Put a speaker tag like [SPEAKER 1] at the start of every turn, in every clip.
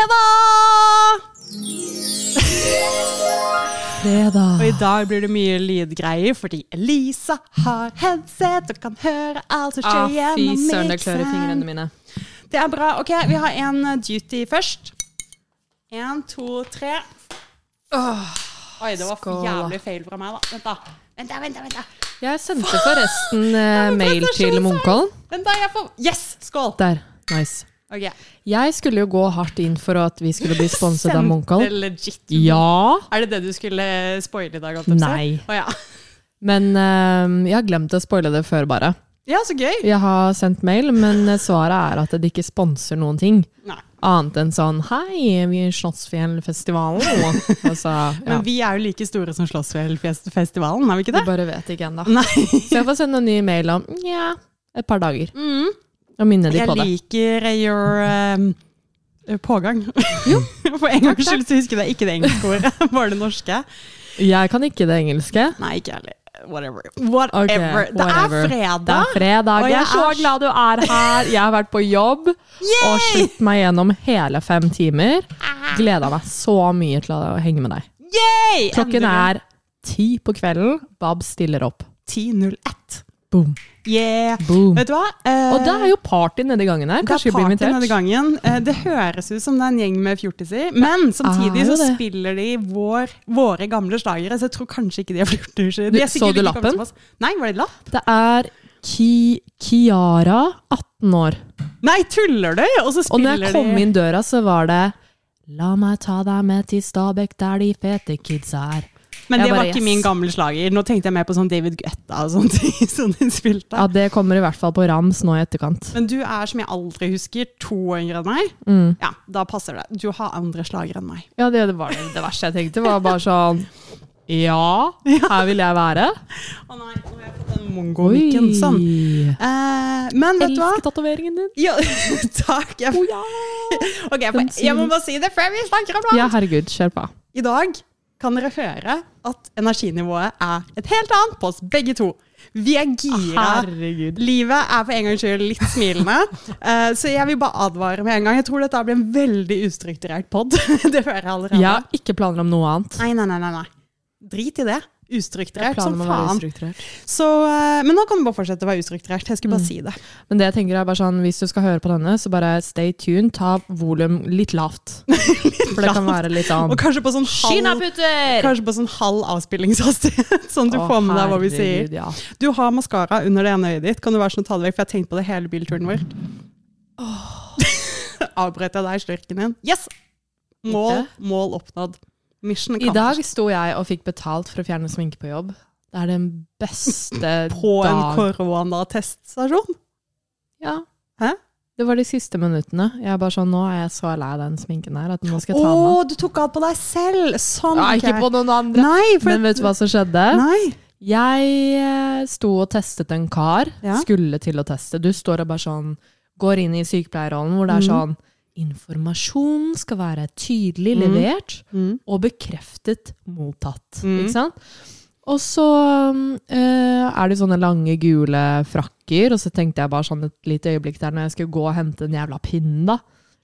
[SPEAKER 1] Fredag! Og
[SPEAKER 2] Fredag.
[SPEAKER 1] i dag blir det mye lydgreier, fordi Elisa har headset og kan høre alt som
[SPEAKER 2] Ah,
[SPEAKER 1] skjer
[SPEAKER 2] fy
[SPEAKER 1] gjennom
[SPEAKER 2] søren, det klør i
[SPEAKER 1] miksen.
[SPEAKER 2] fingrene mine.
[SPEAKER 1] Det er bra. Ok, vi har en eh, duty først. En, to, tre. Oi, det var
[SPEAKER 2] skål, da.
[SPEAKER 1] jævlig feil fra meg, da. Vent, da. Vent, da, vent, da, vent, da.
[SPEAKER 2] Jeg sendte forresten eh,
[SPEAKER 1] men
[SPEAKER 2] mail
[SPEAKER 1] dette er sånn. så
[SPEAKER 2] til
[SPEAKER 1] søtt.
[SPEAKER 2] Munkholm.
[SPEAKER 1] Vent da, jeg får Yes! Skål!
[SPEAKER 2] Der. Nice.
[SPEAKER 1] Ok.
[SPEAKER 2] Jeg skulle jo gå hardt inn for at vi skulle bli sponset
[SPEAKER 1] Sendte
[SPEAKER 2] av
[SPEAKER 1] sånn.
[SPEAKER 2] Munkholm.
[SPEAKER 1] legit.
[SPEAKER 2] Ja,
[SPEAKER 1] Er det det du skulle spoile i dag? holdt jeg på å si?
[SPEAKER 2] Nei.
[SPEAKER 1] Å, ja.
[SPEAKER 2] men eh, jeg har glemt å spoile det før, bare.
[SPEAKER 1] ja, så gøy.
[SPEAKER 2] Jeg har sendt mail, men eh, svaret er at det ikke sponser noen ting.
[SPEAKER 1] Nei.
[SPEAKER 2] Annet enn sånn 'Hei, vi er i Slottsfjellfestivalen'. Altså, ja.
[SPEAKER 1] Men vi er jo like store som Slåssfjellfestivalen, er vi ikke
[SPEAKER 2] Du
[SPEAKER 1] det?
[SPEAKER 2] bare vet ikke ennå.
[SPEAKER 1] Nei.
[SPEAKER 2] Så jeg får sende en ny mail om nja, et par dager. Og minne
[SPEAKER 1] Mm.
[SPEAKER 2] de
[SPEAKER 1] Jeg
[SPEAKER 2] på det.
[SPEAKER 1] liker eh, your um, pågang. For en gangs skyld så husker jeg ikke det engelske ordet, bare det norske.
[SPEAKER 2] Jeg kan ikke det engelske.
[SPEAKER 1] Nei, ikke jeg heller. Whatever. Whatever.
[SPEAKER 2] Ok,
[SPEAKER 1] Det er
[SPEAKER 2] whatever.
[SPEAKER 1] fredag.
[SPEAKER 2] Det er fredag.
[SPEAKER 1] Og
[SPEAKER 2] Jeg
[SPEAKER 1] jeg
[SPEAKER 2] er så
[SPEAKER 1] er-
[SPEAKER 2] glad du er her. Jeg har vært på jobb og slitt meg gjennom hele fem timer. Gleda meg så mye til å henge med deg.
[SPEAKER 1] Yay!
[SPEAKER 2] Klokken er ti på kvelden. Bab stiller opp.
[SPEAKER 1] 10.01.
[SPEAKER 2] Boom.
[SPEAKER 1] Yeah.
[SPEAKER 2] Boom.
[SPEAKER 1] Vet du hva? Eh,
[SPEAKER 2] Og det er jo party nedi gangen her.
[SPEAKER 1] det er
[SPEAKER 2] Kanskje vi blir
[SPEAKER 1] party denne
[SPEAKER 2] invitert?
[SPEAKER 1] gangen. Eh, Det høres ut som det er en gjeng med fjortiser, men samtidig
[SPEAKER 2] er jo
[SPEAKER 1] så
[SPEAKER 2] Ah, det.
[SPEAKER 1] spiller de vår, våre gamle slagere, så jeg tror kanskje ikke de er fjortiser. De er
[SPEAKER 2] Du-
[SPEAKER 1] sikkert
[SPEAKER 2] så du
[SPEAKER 1] ikke kommet
[SPEAKER 2] lappen?
[SPEAKER 1] til oss. Nei, var det lapp?
[SPEAKER 2] Det er Ki Kiara, 18 år.
[SPEAKER 1] Nei, tuller du? Og så
[SPEAKER 2] Og
[SPEAKER 1] spiller
[SPEAKER 2] når jeg kom
[SPEAKER 1] de
[SPEAKER 2] inn døra, så var det La meg ta deg med til Stabekk, der de fete kidsa er.
[SPEAKER 1] Men
[SPEAKER 2] Jeg
[SPEAKER 1] det var
[SPEAKER 2] bare,
[SPEAKER 1] ikke
[SPEAKER 2] yes.
[SPEAKER 1] min gamle slager. Nå tenkte jeg mer på sånn David Guetta og sånne ting som de spilte.
[SPEAKER 2] Ja, det kommer i hvert fall på rams nå i etterkant.
[SPEAKER 1] Men du er, som jeg aldri husker, to år yngre enn meg.
[SPEAKER 2] Mm.
[SPEAKER 1] Ja, da passer det. Du har andre slager enn meg.
[SPEAKER 2] Ja, det var det, det verste jeg tenkte. var bare sånn Ja, her vil jeg være.
[SPEAKER 1] Å nei, nå har jeg fått den mongomikken. Sånn. Eh, men vet du hva?
[SPEAKER 2] Elsker tatoveringen din.
[SPEAKER 1] Ja, takk. Jeg,
[SPEAKER 2] Å ja.
[SPEAKER 1] ok, jeg, får- jeg må bare si det før vi snakker om det.
[SPEAKER 2] ja, herregud. Kjør på.
[SPEAKER 1] I dag kan dere høre at energinivået er et helt annet på oss begge to. Vi er gira.
[SPEAKER 2] Ah, Herregud.
[SPEAKER 1] Livet er for en gangs skyld litt smilende. Eh, så jeg vil bare advare med en gang. Jeg tror dette blir en veldig ustrukturert pod. det hører jeg allerede.
[SPEAKER 2] Jeg har ikke planer om noe annet.
[SPEAKER 1] Nei, nei, nei, nei, nei. Drit i det. Ustrukturert
[SPEAKER 2] Planer
[SPEAKER 1] som
[SPEAKER 2] om å være
[SPEAKER 1] faen.
[SPEAKER 2] ustrukturert.
[SPEAKER 1] Så, eh, men nå kan du bare fortsette å være ustrukturert. Jeg skulle
[SPEAKER 2] Mm.
[SPEAKER 1] bare si det.
[SPEAKER 2] Men det jeg tenker er bare sånn, hvis du skal høre på denne, så bare stay tuned. Ta volum litt lavt. For det kan være litt
[SPEAKER 1] Og
[SPEAKER 2] sånn
[SPEAKER 1] kanskje på sånn halv,
[SPEAKER 2] Kinaputter!
[SPEAKER 1] kanskje på sånn halv avspillingshastighet, sånn at du
[SPEAKER 2] Å,
[SPEAKER 1] får med deg hva vi
[SPEAKER 2] herregud,
[SPEAKER 1] sier.
[SPEAKER 2] Ja.
[SPEAKER 1] Du har maskara under det ene øyet ditt. Kan du være sånn å ta det vekk, for jeg har tenkt på det hele bilturen vår. Avbrøt jeg deg i slurken din? Yes! Mål,
[SPEAKER 2] Ikke.
[SPEAKER 1] mål oppnådd. Mission
[SPEAKER 2] I dag
[SPEAKER 1] accomplished.
[SPEAKER 2] sto jeg og fikk betalt for å fjerne sminke på jobb. Det er den beste
[SPEAKER 1] På en
[SPEAKER 2] dag-
[SPEAKER 1] koronateststasjon.
[SPEAKER 2] Ja.
[SPEAKER 1] Hæ?
[SPEAKER 2] Det var de siste minuttene. Jeg er bare sånn, Nå er jeg så lei av den sminken her at nå
[SPEAKER 1] Å,
[SPEAKER 2] skal jeg ta den av.
[SPEAKER 1] du tok av på deg selv! Sånn.
[SPEAKER 2] Ja,
[SPEAKER 1] ok.
[SPEAKER 2] ikke på noen andre.
[SPEAKER 1] Nei, for
[SPEAKER 2] Men vet du hva som skjedde?
[SPEAKER 1] Nei.
[SPEAKER 2] Jeg eh, sto og testet en kar.
[SPEAKER 1] Ja.
[SPEAKER 2] Skulle til å teste. Du står og bare sånn Går inn i sykepleierrollen hvor det er sånn
[SPEAKER 1] Mhm.
[SPEAKER 2] Informasjon skal være tydelig levert
[SPEAKER 1] Mm.
[SPEAKER 2] og bekreftet mottatt.
[SPEAKER 1] Mm.
[SPEAKER 2] Ikke sant? Og så mm, eh, er det sånne lange, gule frakker, og så tenkte jeg bare sånn et lite øyeblikk der når jeg skulle gå og hente den jævla pinnen, da.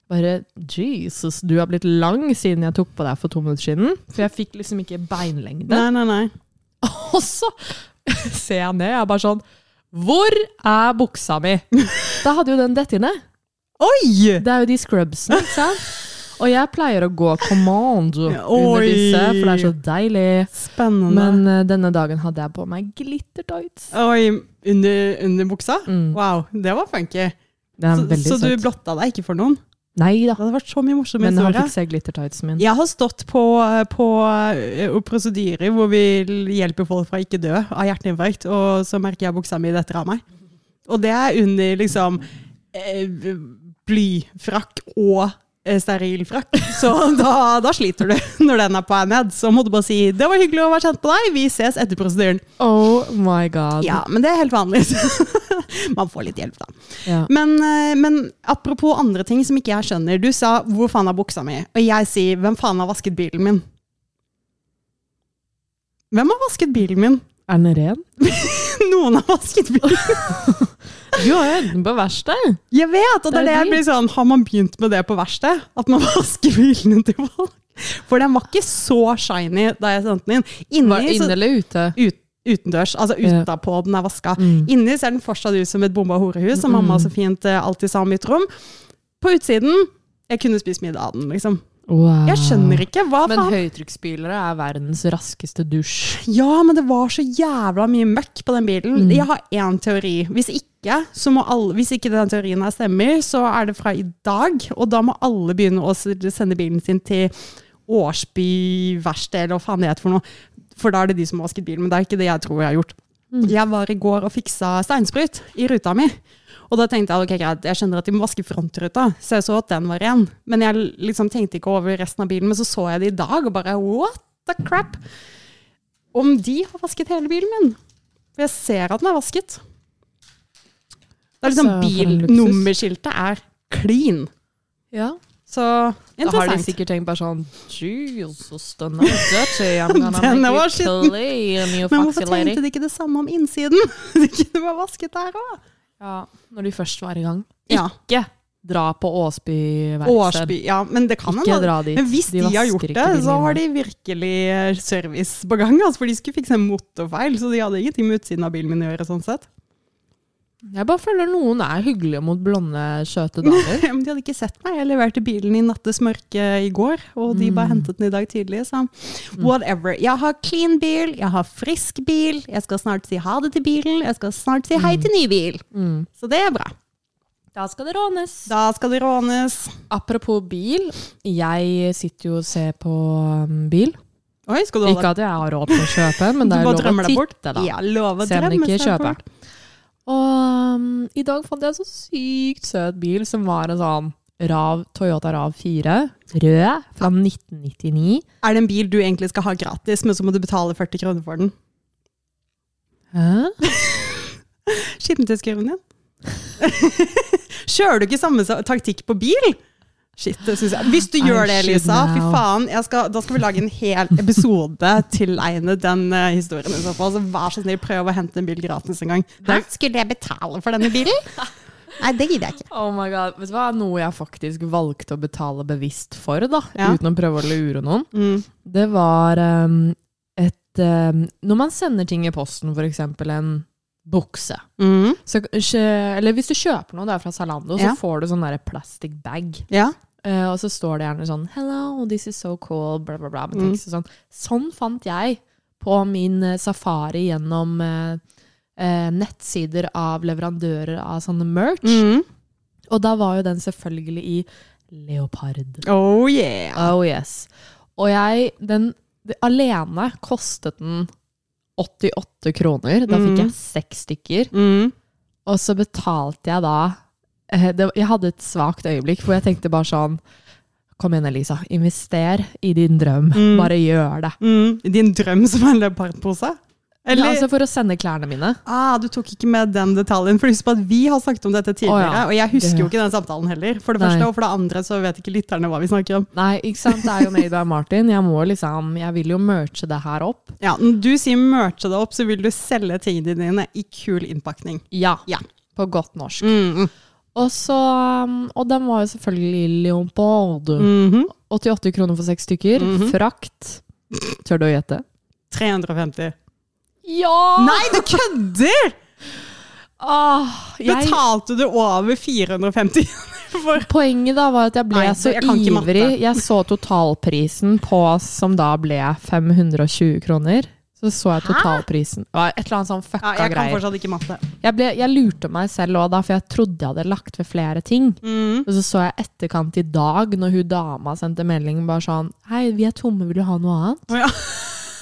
[SPEAKER 2] Bare Jesus, du har blitt lang siden jeg tok på deg for to minutter siden. For jeg fikk liksom ikke beinlengde.
[SPEAKER 1] nei, nei, nei.
[SPEAKER 2] Og så ser jeg ned, jeg er bare sånn Hvor er buksa mi? Da hadde jo den dette inne.
[SPEAKER 1] Oi!
[SPEAKER 2] Det er jo de scrubsene, ikke sant? Og jeg pleier å gå command under
[SPEAKER 1] Oi.
[SPEAKER 2] disse, for det er så deilig.
[SPEAKER 1] Spennende.
[SPEAKER 2] Men eh, denne dagen hadde jeg på meg glittertights.
[SPEAKER 1] Oi, under, under buksa? Wow, det var funky.
[SPEAKER 2] Det er
[SPEAKER 1] Så,
[SPEAKER 2] Mm. veldig
[SPEAKER 1] så du
[SPEAKER 2] søtt.
[SPEAKER 1] blotta deg ikke for noen?
[SPEAKER 2] Nei da,
[SPEAKER 1] Det hadde vært så mye morsomme
[SPEAKER 2] men han
[SPEAKER 1] historier.
[SPEAKER 2] fikk se glittertightsen min.
[SPEAKER 1] Jeg har stått på, på eh, prosedyrer hvor vi hjelper folk fra ikke dø av hjerteinfarkt, og så merker jeg buksa mi detter av meg. Og det er under liksom eh, blyfrakk og eh, sterilfrakk. Så da, da sliter du når den er på vei ned. Så må du bare si 'det var hyggelig å være kjent med deg, vi ses etter prosedyren'.
[SPEAKER 2] Oh my god.
[SPEAKER 1] Ja, men det er helt vanlig. Man får litt hjelp, da.
[SPEAKER 2] Ja.
[SPEAKER 1] Men, eh, men apropos andre ting som ikke jeg skjønner. Du sa 'hvor faen er buksa mi?' Og jeg sier 'hvem faen har vasket bilen min?' Hvem har vasket bilen min?
[SPEAKER 2] Er den ren?
[SPEAKER 1] Noen har vasket bilen.
[SPEAKER 2] Du har jo den på verksted.
[SPEAKER 1] Jeg vet, og det
[SPEAKER 2] Det er
[SPEAKER 1] er det jeg
[SPEAKER 2] dyrt.
[SPEAKER 1] blir sånn, har man begynt med det på verksted? At man vasker bilene til folk? For den var ikke så shiny da jeg sendte den inn. Inni,
[SPEAKER 2] Var det
[SPEAKER 1] så,
[SPEAKER 2] inne eller ute?
[SPEAKER 1] ut, utendørs, altså
[SPEAKER 2] Ja.
[SPEAKER 1] utapå den er vaska.
[SPEAKER 2] Mm.
[SPEAKER 1] Inni ser den fortsatt ut som et bomba horehus, som mamma så fint eh, alltid sa om mitt rom. På utsiden jeg kunne spist middag av den, liksom.
[SPEAKER 2] Wow.
[SPEAKER 1] Jeg skjønner ikke. Hva
[SPEAKER 2] Men
[SPEAKER 1] faen?
[SPEAKER 2] høytrykksspylere er verdens raskeste dusj.
[SPEAKER 1] Ja, men det var så jævla mye møkk på den bilen. Jeg har én teori. Hvis ikke, så må alle, hvis ikke den teorien her stemmer, så er det fra i dag. Og da må alle begynne å s- sende bilen sin til Årsby verksted, eller hva faen det heter for noe. For da er det de som har vasket bilen, men det er ikke det jeg tror jeg har gjort. Jeg var i går og fiksa steinsprut i ruta mi. Og da tenkte jeg ok, greit, jeg skjønner at de må vaske frontruta, så jeg så at den var ren. Men jeg liksom tenkte ikke over resten av bilen, men så så jeg det i dag, og bare what the crap? Om de har vasket hele bilen min? For jeg ser at den er vasket. Det er liksom
[SPEAKER 2] Altså, for en luksus.
[SPEAKER 1] bilnummerskiltet er clean.
[SPEAKER 2] Ja.
[SPEAKER 1] Så
[SPEAKER 2] Da har de
[SPEAKER 1] interessant.
[SPEAKER 2] sikkert tenkt bare sånn Jesus, den er dirty. I'm gonna
[SPEAKER 1] Den
[SPEAKER 2] make
[SPEAKER 1] var
[SPEAKER 2] you
[SPEAKER 1] skitten.
[SPEAKER 2] clean, you
[SPEAKER 1] Men
[SPEAKER 2] foxy
[SPEAKER 1] hvorfor
[SPEAKER 2] lady.
[SPEAKER 1] tenkte de ikke det samme om innsiden? De kunne bare vasket der òg.
[SPEAKER 2] Ja, når de først var i gang.
[SPEAKER 1] Ja.
[SPEAKER 2] Ikke dra på Åsby verksted.
[SPEAKER 1] Årsby, ja, men det kan
[SPEAKER 2] Ikke
[SPEAKER 1] hende.
[SPEAKER 2] dra dit.
[SPEAKER 1] Men hvis de, har
[SPEAKER 2] vasker
[SPEAKER 1] gjort
[SPEAKER 2] ikke
[SPEAKER 1] det, så
[SPEAKER 2] bilene.
[SPEAKER 1] har de virkelig eh, service på gang. Altså, for de skulle fikse en motorfeil, så de hadde ingenting med utsiden av bilen min å gjøre. sånn sett.
[SPEAKER 2] Jeg bare føler noen er hyggelige mot blonde, skjøte damer.
[SPEAKER 1] Men de hadde ikke sett meg. Jeg leverte bilen i nattes mørke i går, og de
[SPEAKER 2] Mm.
[SPEAKER 1] bare hentet den i dag tidlig. Så whatever. Jeg har clean bil, jeg har frisk bil, jeg skal snart si ha det til bilen, jeg skal snart si hei til ny bil.
[SPEAKER 2] Mm.
[SPEAKER 1] Så det er bra.
[SPEAKER 2] Da skal det rånes.
[SPEAKER 1] Da skal det rånes.
[SPEAKER 2] Apropos bil. Jeg sitter jo og ser på um, bil.
[SPEAKER 1] Oi, skal du holde
[SPEAKER 2] Ikke at jeg har råd til å kjøpe, men det
[SPEAKER 1] Du
[SPEAKER 2] er
[SPEAKER 1] bare
[SPEAKER 2] lov å
[SPEAKER 1] drømmer deg bort.
[SPEAKER 2] titte, da.
[SPEAKER 1] Ja, lov å
[SPEAKER 2] Se om den
[SPEAKER 1] drømme
[SPEAKER 2] ikke
[SPEAKER 1] seg
[SPEAKER 2] kjøper.
[SPEAKER 1] bort.
[SPEAKER 2] Og um, i dag fant jeg en så sykt søt bil som var en sånn RAV, Toyota RAV 4, rød, fra 1999.
[SPEAKER 1] Er det en bil du egentlig skal ha gratis, men så må du betale 40 kroner for den?
[SPEAKER 2] Hæ?
[SPEAKER 1] Skittentøyskurven din. Kjører du ikke samme sa- taktikk på bil? Shit, det synes jeg. Hvis du
[SPEAKER 2] I
[SPEAKER 1] gjør det,
[SPEAKER 2] should
[SPEAKER 1] Lisa, fy
[SPEAKER 2] know.
[SPEAKER 1] faen, jeg skal, da skal vi lage en hel episode tilegnet den eh, historien. i så fall. Så vær så snill, prøv å hente en bil gratis en gang. Hæ? Skulle jeg betale for denne bilen? Nei, det gidder jeg ikke.
[SPEAKER 2] Oh my god, vet du hva? Noe jeg faktisk valgte å betale bevisst for, da,
[SPEAKER 1] Ja.
[SPEAKER 2] uten å prøve å lure noen,
[SPEAKER 1] Mm.
[SPEAKER 2] det var um, et um, Når man sender ting i posten, for eksempel en bukse
[SPEAKER 1] Mm.
[SPEAKER 2] så, kjø- Eller hvis du kjøper noe der fra Zalando,
[SPEAKER 1] Ja.
[SPEAKER 2] så får du sånn der plastic bag.
[SPEAKER 1] Ja.
[SPEAKER 2] Eh, og så står det gjerne sånn Hello, this is so cool, bla, bla, bla.
[SPEAKER 1] Mm.
[SPEAKER 2] Med tekst og sånn. sånn fant jeg på min eh, safari gjennom eh, eh, nettsider av leverandører av sånne merch.
[SPEAKER 1] Mm.
[SPEAKER 2] Og da var jo den selvfølgelig i leopard.
[SPEAKER 1] Oh yeah.
[SPEAKER 2] Oh yes. Og jeg, den det, alene kostet den 88 kroner. Da
[SPEAKER 1] Mhm.
[SPEAKER 2] fikk jeg seks stykker.
[SPEAKER 1] Mm.
[SPEAKER 2] Og så betalte jeg da eh, det, Jeg hadde et svakt øyeblikk hvor jeg tenkte bare sånn Kom igjen, Elisa. Invester i din drøm.
[SPEAKER 1] Mm.
[SPEAKER 2] Bare gjør det.
[SPEAKER 1] Mm. Din drøm som er en leopardpose?
[SPEAKER 2] Ja, altså for å sende klærne mine.
[SPEAKER 1] Ah, du tok ikke med den detaljen. For husk på at vi har snakket om dette tidligere,
[SPEAKER 2] Å ja.
[SPEAKER 1] og jeg husker jo
[SPEAKER 2] Det-
[SPEAKER 1] ikke den samtalen heller. For det
[SPEAKER 2] Nei.
[SPEAKER 1] første, og for det andre så vet ikke lytterne hva vi snakker om.
[SPEAKER 2] Nei, ikke sant. Det er jo made by Martin. Jeg må liksom Jeg vil jo merche det her opp.
[SPEAKER 1] Ja, Når du sier merche deg opp, så vil du selge tingene dine i kul innpakning.
[SPEAKER 2] Ja.
[SPEAKER 1] Ja.
[SPEAKER 2] På godt norsk.
[SPEAKER 1] Mm, mm.
[SPEAKER 2] Og så um, Og den var jo selvfølgelig Leopold.
[SPEAKER 1] Mhm.
[SPEAKER 2] 88 kroner for seks stykker. Frakt. Tør du å gjette?
[SPEAKER 1] 350.
[SPEAKER 2] Ja!
[SPEAKER 1] Nei, du kødder! Ah,
[SPEAKER 2] Åh, jeg
[SPEAKER 1] Betalte du over 450 for
[SPEAKER 2] Poenget da var at jeg ble
[SPEAKER 1] Nei,
[SPEAKER 2] så
[SPEAKER 1] jeg kan ikke matte.
[SPEAKER 2] ivrig. Jeg så totalprisen på, som da ble 520 kroner. Så så jeg totalprisen. Det var et eller annet sånn fucka
[SPEAKER 1] ja, Jeg kan
[SPEAKER 2] greier.
[SPEAKER 1] fortsatt ikke matte.
[SPEAKER 2] Jeg, ble, jeg lurte meg selv òg da, for jeg trodde jeg hadde lagt ved flere ting.
[SPEAKER 1] Mm.
[SPEAKER 2] Og så så jeg etterkant i dag, når hun dama sendte melding bare sånn Hei, vi er tomme, vil du ha noe annet?
[SPEAKER 1] Å ja.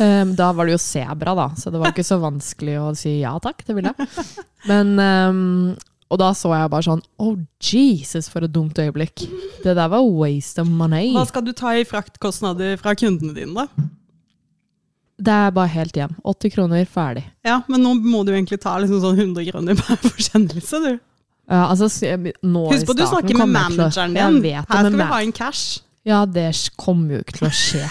[SPEAKER 2] Ehm, da var det jo sebra, da, så det var ikke så vanskelig å si ja takk, det ville jeg. Men ehm, Og da så jeg bare sånn Oh Jesus, for et dumt øyeblikk. Det der var waste of money.
[SPEAKER 1] Hva skal du ta i fraktkostnader fra kundene dine, da?
[SPEAKER 2] Det er bare helt hjem. 80 kroner, ferdig.
[SPEAKER 1] Ja, Men nå må du egentlig ta liksom sånn 100 kroner per forsendelse, du.
[SPEAKER 2] Ja, altså, s- jeg- nå i
[SPEAKER 1] Husk på at du
[SPEAKER 2] starten
[SPEAKER 1] snakker med
[SPEAKER 2] kommer jeg til å-
[SPEAKER 1] manageren din.
[SPEAKER 2] Jeg vet det,
[SPEAKER 1] Her skal
[SPEAKER 2] men
[SPEAKER 1] vi
[SPEAKER 2] ma-
[SPEAKER 1] ha en cash.
[SPEAKER 2] Ja, det kommer jo ikke til å skje.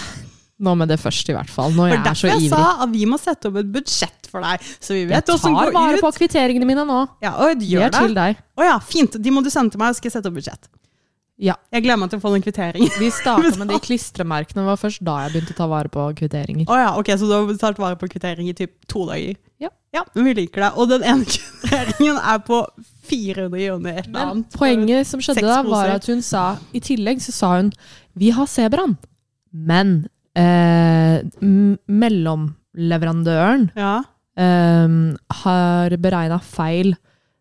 [SPEAKER 2] Nå med det først, i hvert fall. Når
[SPEAKER 1] For
[SPEAKER 2] jeg er så
[SPEAKER 1] derfor jeg
[SPEAKER 2] ivrig.
[SPEAKER 1] sa at vi må sette opp et budsjett for deg, så vi
[SPEAKER 2] Jeg
[SPEAKER 1] vet
[SPEAKER 2] tar
[SPEAKER 1] åssen går
[SPEAKER 2] vare
[SPEAKER 1] ut.
[SPEAKER 2] på kvitteringene mine nå.
[SPEAKER 1] Ja, og
[SPEAKER 2] De
[SPEAKER 1] gjør
[SPEAKER 2] er til
[SPEAKER 1] det.
[SPEAKER 2] deg.
[SPEAKER 1] Å ja, fint. De må du sende til meg, så skal jeg sette opp budsjett.
[SPEAKER 2] Ja.
[SPEAKER 1] Jeg gleder meg til å få den kvitteringen.
[SPEAKER 2] Vi starta med de klistremerkene. Det var først da jeg begynte å ta vare på kvitteringer.
[SPEAKER 1] Å ja, ok, så du har betalt vare på kvittering i typ to dager?
[SPEAKER 2] Ja.
[SPEAKER 1] ja. Men vi liker deg. Og den ene kvitteringen er på 400 kroner. eller
[SPEAKER 2] Men
[SPEAKER 1] annet.
[SPEAKER 2] poenget som skjedde da, var at hun sa I tillegg så sa hun Vi har Sebraen, men eh, m- mellomleverandøren
[SPEAKER 1] Ja.
[SPEAKER 2] eh, har beregna feil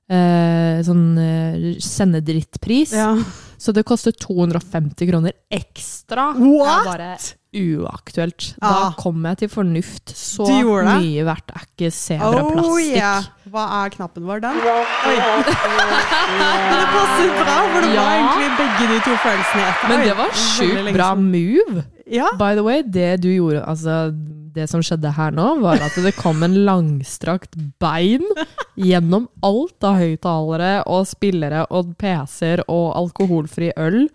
[SPEAKER 2] eh, sånn eh, sendedrittpris.
[SPEAKER 1] ja.
[SPEAKER 2] Så det koster 250 kroner ekstra.
[SPEAKER 1] What?
[SPEAKER 2] Det er bare uaktuelt.
[SPEAKER 1] Ja.
[SPEAKER 2] Da kom jeg til fornuft. Så
[SPEAKER 1] Du gjorde det?
[SPEAKER 2] mye verdt er ikke
[SPEAKER 1] Oh
[SPEAKER 2] sebraplastikk.
[SPEAKER 1] yeah. Hva er knappen vår, den? Oi. Men det passet bra, for det var
[SPEAKER 2] Ja.
[SPEAKER 1] egentlig begge de to følelsene. i ett.
[SPEAKER 2] Men
[SPEAKER 1] Oi,
[SPEAKER 2] det var
[SPEAKER 1] veldig
[SPEAKER 2] sjukt
[SPEAKER 1] lenge
[SPEAKER 2] bra
[SPEAKER 1] siden.
[SPEAKER 2] move.
[SPEAKER 1] Ja.
[SPEAKER 2] By the way, det du gjorde, altså det som skjedde her nå, var at det kom en langstrakt bein gjennom alt av høyttalere og spillere og PC-er og alkoholfri øl,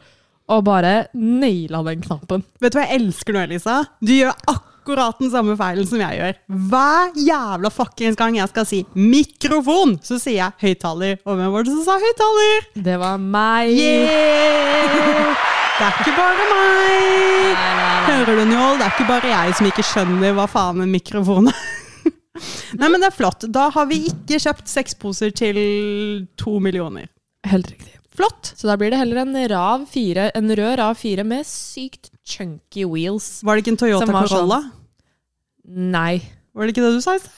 [SPEAKER 2] og bare naila den knappen.
[SPEAKER 1] Vet du hva jeg elsker nå, Elisa? Du gjør akkurat den samme feilen som jeg gjør. Hver jævla fuckings gang jeg skal si mikrofon, så sier jeg høyttaler. Og hvem var det som sa høyttaler?
[SPEAKER 2] Det var meg.
[SPEAKER 1] Yeah! Det er ikke bare meg!
[SPEAKER 2] Nei, nei, nei.
[SPEAKER 1] Hører du, Njål? Det er ikke bare jeg som ikke skjønner hva faen en mikrofon er. Nei, men det er flott. Da har vi ikke kjøpt seks poser til to millioner.
[SPEAKER 2] Helt riktig.
[SPEAKER 1] Flott!
[SPEAKER 2] Så da blir det heller en, rav 4, en rød RAV 4 med sykt chunky wheels.
[SPEAKER 1] Var det ikke en
[SPEAKER 2] Som
[SPEAKER 1] Toyota
[SPEAKER 2] var sånn.
[SPEAKER 1] Corolla?
[SPEAKER 2] Nei.
[SPEAKER 1] Var det ikke det du sa i sted?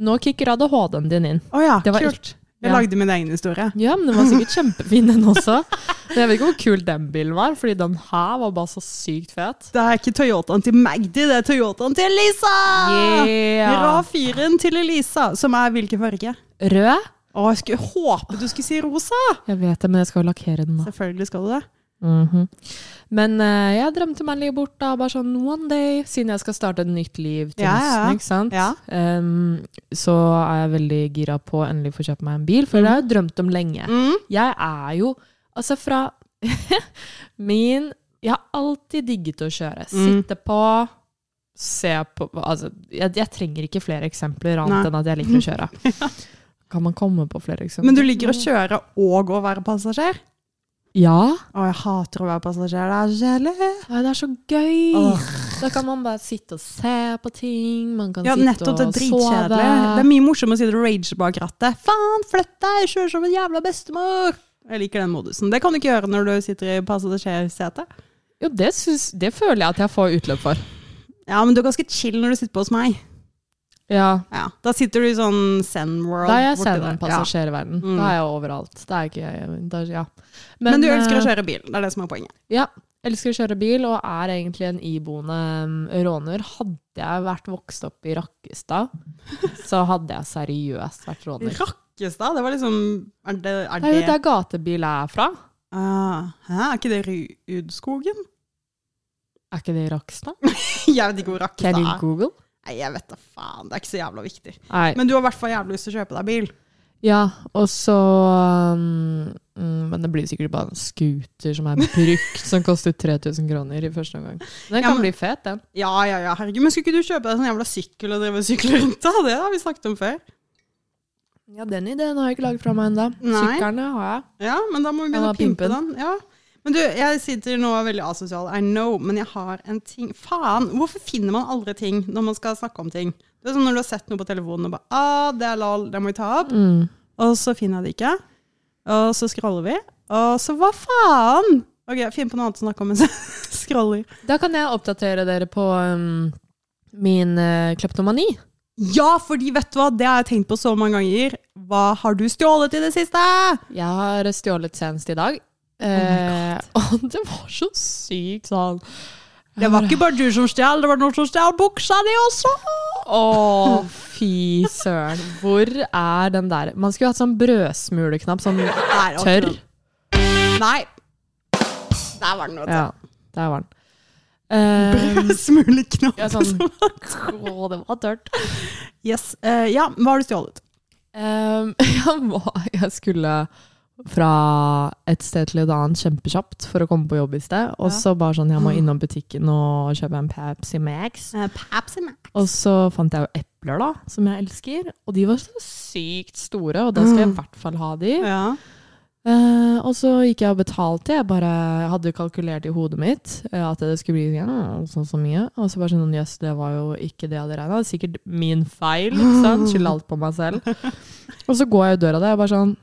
[SPEAKER 2] Nå kicker ADHD-en din inn.
[SPEAKER 1] Å ja,
[SPEAKER 2] Det var
[SPEAKER 1] kult. Jeg
[SPEAKER 2] ja.
[SPEAKER 1] lagde min egen historie.
[SPEAKER 2] Ja, men den var sikkert kjempefin, den også. Men jeg vet ikke hvor kul den bilen var, fordi den her var bare så sykt fet.
[SPEAKER 1] Det er ikke Toyotaen til Magdi, det er Toyotaen til Elisa! Ah,
[SPEAKER 2] Yeah.
[SPEAKER 1] RAV4-en til Elisa, som er hvilken farge?
[SPEAKER 2] Rød?
[SPEAKER 1] Å, jeg skulle håpe du skulle si rosa!
[SPEAKER 2] Jeg vet det, men jeg skal jo lakkere den nå.
[SPEAKER 1] Selvfølgelig skal du det.
[SPEAKER 2] Mhm. Men eh, jeg drømte meg litt bort da, bare sånn one day, siden jeg skal starte et nytt liv til
[SPEAKER 1] Ja, ja, ja.
[SPEAKER 2] høsten, ikke sant?
[SPEAKER 1] Ja.
[SPEAKER 2] Em, så er jeg veldig gira på å endelig få kjøpt meg en bil, for det har
[SPEAKER 1] Mm.
[SPEAKER 2] jeg jo drømt om lenge. Jeg er jo Altså, fra min Jeg har alltid digget å kjøre.
[SPEAKER 1] Mm.
[SPEAKER 2] Sitte på, se på Altså, jeg, jeg trenger ikke flere eksempler
[SPEAKER 1] Nei.
[SPEAKER 2] annet enn at jeg liker å kjøre. Kan man komme på flere eksempler?
[SPEAKER 1] Men du liker å kjøre og å være passasjer?
[SPEAKER 2] Ja.
[SPEAKER 1] Å, jeg hater å være passasjer, det er så kjedelig.
[SPEAKER 2] Nei, det er så gøy!
[SPEAKER 1] Åh.
[SPEAKER 2] Da kan man bare sitte og se på ting, man kan
[SPEAKER 1] Ja,
[SPEAKER 2] sitte
[SPEAKER 1] nettopp, det er
[SPEAKER 2] og sove.
[SPEAKER 1] dritkjedelig. Det er mye morsommere å sitte og rage bak rattet. Faen, flytt deg, kjør som en jævla bestemor! Jeg liker den modusen. Det kan du ikke gjøre når du sitter i passasjersetet.
[SPEAKER 2] Jo, det, syns, det føler jeg at jeg får utløp for.
[SPEAKER 1] Ja, men du er ganske chill når du sitter på hos meg.
[SPEAKER 2] Ja.
[SPEAKER 1] Ja, Da sitter du i sånn Zen-world.
[SPEAKER 2] Da er jeg
[SPEAKER 1] borti
[SPEAKER 2] selv
[SPEAKER 1] der.
[SPEAKER 2] en passasjer i verden.
[SPEAKER 1] Mm.
[SPEAKER 2] Da er jeg overalt. Da er jeg ikke, da, ja.
[SPEAKER 1] Ja. Men, du elsker å
[SPEAKER 2] eh,
[SPEAKER 1] kjøre bil, det er det som er poenget.
[SPEAKER 2] Ja. Elsker å kjøre bil, og er egentlig en iboende mm, råner. Hadde jeg vært vokst opp i Rakkestad, så hadde jeg seriøst vært råner.
[SPEAKER 1] Rakkestad, det var liksom Er det, er
[SPEAKER 2] Det er jo
[SPEAKER 1] det
[SPEAKER 2] der gatebil er fra.
[SPEAKER 1] ah, hæ, Er ikke det Rudskogen?
[SPEAKER 2] Er ikke det i Rakkestad?
[SPEAKER 1] Jeg vet ikke hvor
[SPEAKER 2] Can
[SPEAKER 1] Rakkestad
[SPEAKER 2] you
[SPEAKER 1] er.
[SPEAKER 2] google?
[SPEAKER 1] Nei, jeg vet da faen. Det er ikke så jævla viktig.
[SPEAKER 2] Nei.
[SPEAKER 1] Men du har i hvert fall jævlig lyst til å kjøpe deg bil.
[SPEAKER 2] Ja, og så um, mm, Men det blir sikkert bare en scooter som er brukt, som koster 3000 kroner i første omgang. Men
[SPEAKER 1] Ja,
[SPEAKER 2] den kan
[SPEAKER 1] men-
[SPEAKER 2] bli fet, den.
[SPEAKER 1] Ja, ja, ja, herregud. Men skulle ikke du kjøpe deg sånn jævla sykkel og drive og sykle rundt da? Det har vi snakket om før.
[SPEAKER 2] Ja, den ideen har jeg ikke laget fra meg ennå.
[SPEAKER 1] Nei.
[SPEAKER 2] Sykkelen har jeg.
[SPEAKER 1] Ja, men da må vi begynne
[SPEAKER 2] Ja,
[SPEAKER 1] å pimpe
[SPEAKER 2] pimpen.
[SPEAKER 1] den. Ja. Men du, jeg sitter nå veldig asosial, I know, men jeg har en ting Faen, hvorfor finner man aldri ting når man skal snakke om ting? Det er som når du har sett noe på telefonen og bare ah, det er lol, det må vi ta opp.
[SPEAKER 2] Mm.
[SPEAKER 1] Og så finner jeg det ikke. Og så scroller vi. Og så hva faen? Ok, finn på noe annet å snakke om mens jeg scroller.
[SPEAKER 2] Da kan jeg oppdatere dere på um, min eh, kleptomani.
[SPEAKER 1] Ja, fordi vet du hva, det har jeg tenkt på så mange ganger. Hva har du stjålet i det siste?
[SPEAKER 2] Jeg har stjålet senest i dag. Eh, og det var så sykt sånn
[SPEAKER 1] Det var ikke bare du som stjal, det var noen som stjal buksa di også.
[SPEAKER 2] Å, fy søren. Hvor er den der Man skulle hatt sånn brødsmuleknapp, sånn
[SPEAKER 1] Nei, ok.
[SPEAKER 2] tørr.
[SPEAKER 1] Nei. Der var den, vet du.
[SPEAKER 2] Ja, der var den. Eh,
[SPEAKER 1] Smuleknapp.
[SPEAKER 2] Ja, sånn.
[SPEAKER 1] som-
[SPEAKER 2] Å, det var tørt.
[SPEAKER 1] Yes. eh, ja, hva har du stjålet?
[SPEAKER 2] Ehm, jeg, var, jeg skulle fra et sted til et annet kjempekjapt for å komme på jobb i sted. Og
[SPEAKER 1] Ja.
[SPEAKER 2] så bare sånn, jeg må innom butikken og kjøpe en Pepsi Max.
[SPEAKER 1] Eh, Pepsi Max.
[SPEAKER 2] Og så fant jeg jo epler da, som jeg elsker. Og de var så sykt store, og da skal jeg i hvert fall ha de.
[SPEAKER 1] Ja.
[SPEAKER 2] Eh, og så gikk jeg og betalte. Jeg bare jeg hadde jo kalkulert i hodet mitt eh, at det skulle bli ja, sånn så mye. Og så bare sånn Jøss, det var jo ikke det jeg hadde regna. Sikkert min feil. ikke sant? Skylder alt på meg selv. Og så går jeg ut døra der og bare sånn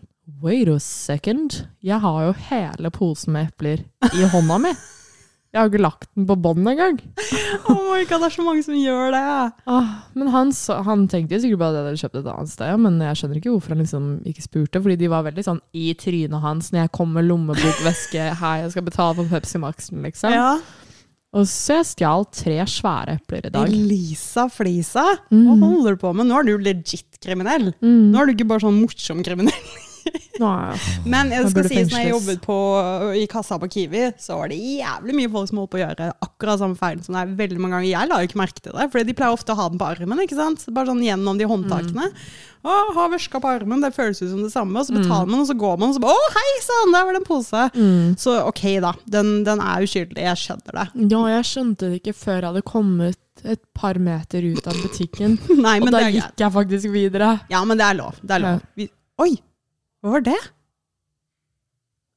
[SPEAKER 2] Wait a second. Jeg har jo hele posen med epler i hånda mi. Jeg har jo ikke lagt den på bånd engang.
[SPEAKER 1] Oh my god, det er så mange som gjør det.
[SPEAKER 2] Ah, men han, så, han tenkte jo sikkert bare at jeg hadde kjøpt et annet sted, men jeg skjønner ikke hvorfor han liksom ikke spurte, fordi de var veldig sånn i trynet hans når jeg kom med lommebokveske, hei, jeg skal betale for Pepsi Maxen, liksom.
[SPEAKER 1] Ja.
[SPEAKER 2] Og så jeg stjal tre svære epler i dag.
[SPEAKER 1] Elisa Flisa, hva holder du på med? Nå er du legit kriminell.
[SPEAKER 2] Mm.
[SPEAKER 1] Nå er du ikke bare sånn morsom kriminell.
[SPEAKER 2] Nå er jeg-
[SPEAKER 1] Men jeg
[SPEAKER 2] Da
[SPEAKER 1] skal
[SPEAKER 2] burde
[SPEAKER 1] sies, når jeg
[SPEAKER 2] fengsles.
[SPEAKER 1] jobbet på, i kassa på Kiwi, så var det jævlig mye folk som holdt på å gjøre akkurat samme feil som deg veldig mange ganger. Jeg la jo ikke merke til det, for de pleier ofte å ha den på armen, ikke sant? Bare sånn gjennom de håndtakene.
[SPEAKER 2] Mm.
[SPEAKER 1] Å, ha veska på armen, det føles ut som det samme, og så betaler man, og så går man, og så bare, å, hei, sann, der var det en pose.
[SPEAKER 2] Mm.
[SPEAKER 1] Så ok da, den, den er uskyldig, jeg skjønner det.
[SPEAKER 2] Ja, jeg skjønte det ikke før jeg hadde kommet et par meter ut av butikken,
[SPEAKER 1] Nei,
[SPEAKER 2] og
[SPEAKER 1] men
[SPEAKER 2] da
[SPEAKER 1] det er greit.
[SPEAKER 2] gikk jeg faktisk videre.
[SPEAKER 1] Ja, men det er lov. Det er
[SPEAKER 2] Ja.
[SPEAKER 1] lov. Vi, oi, hva var det?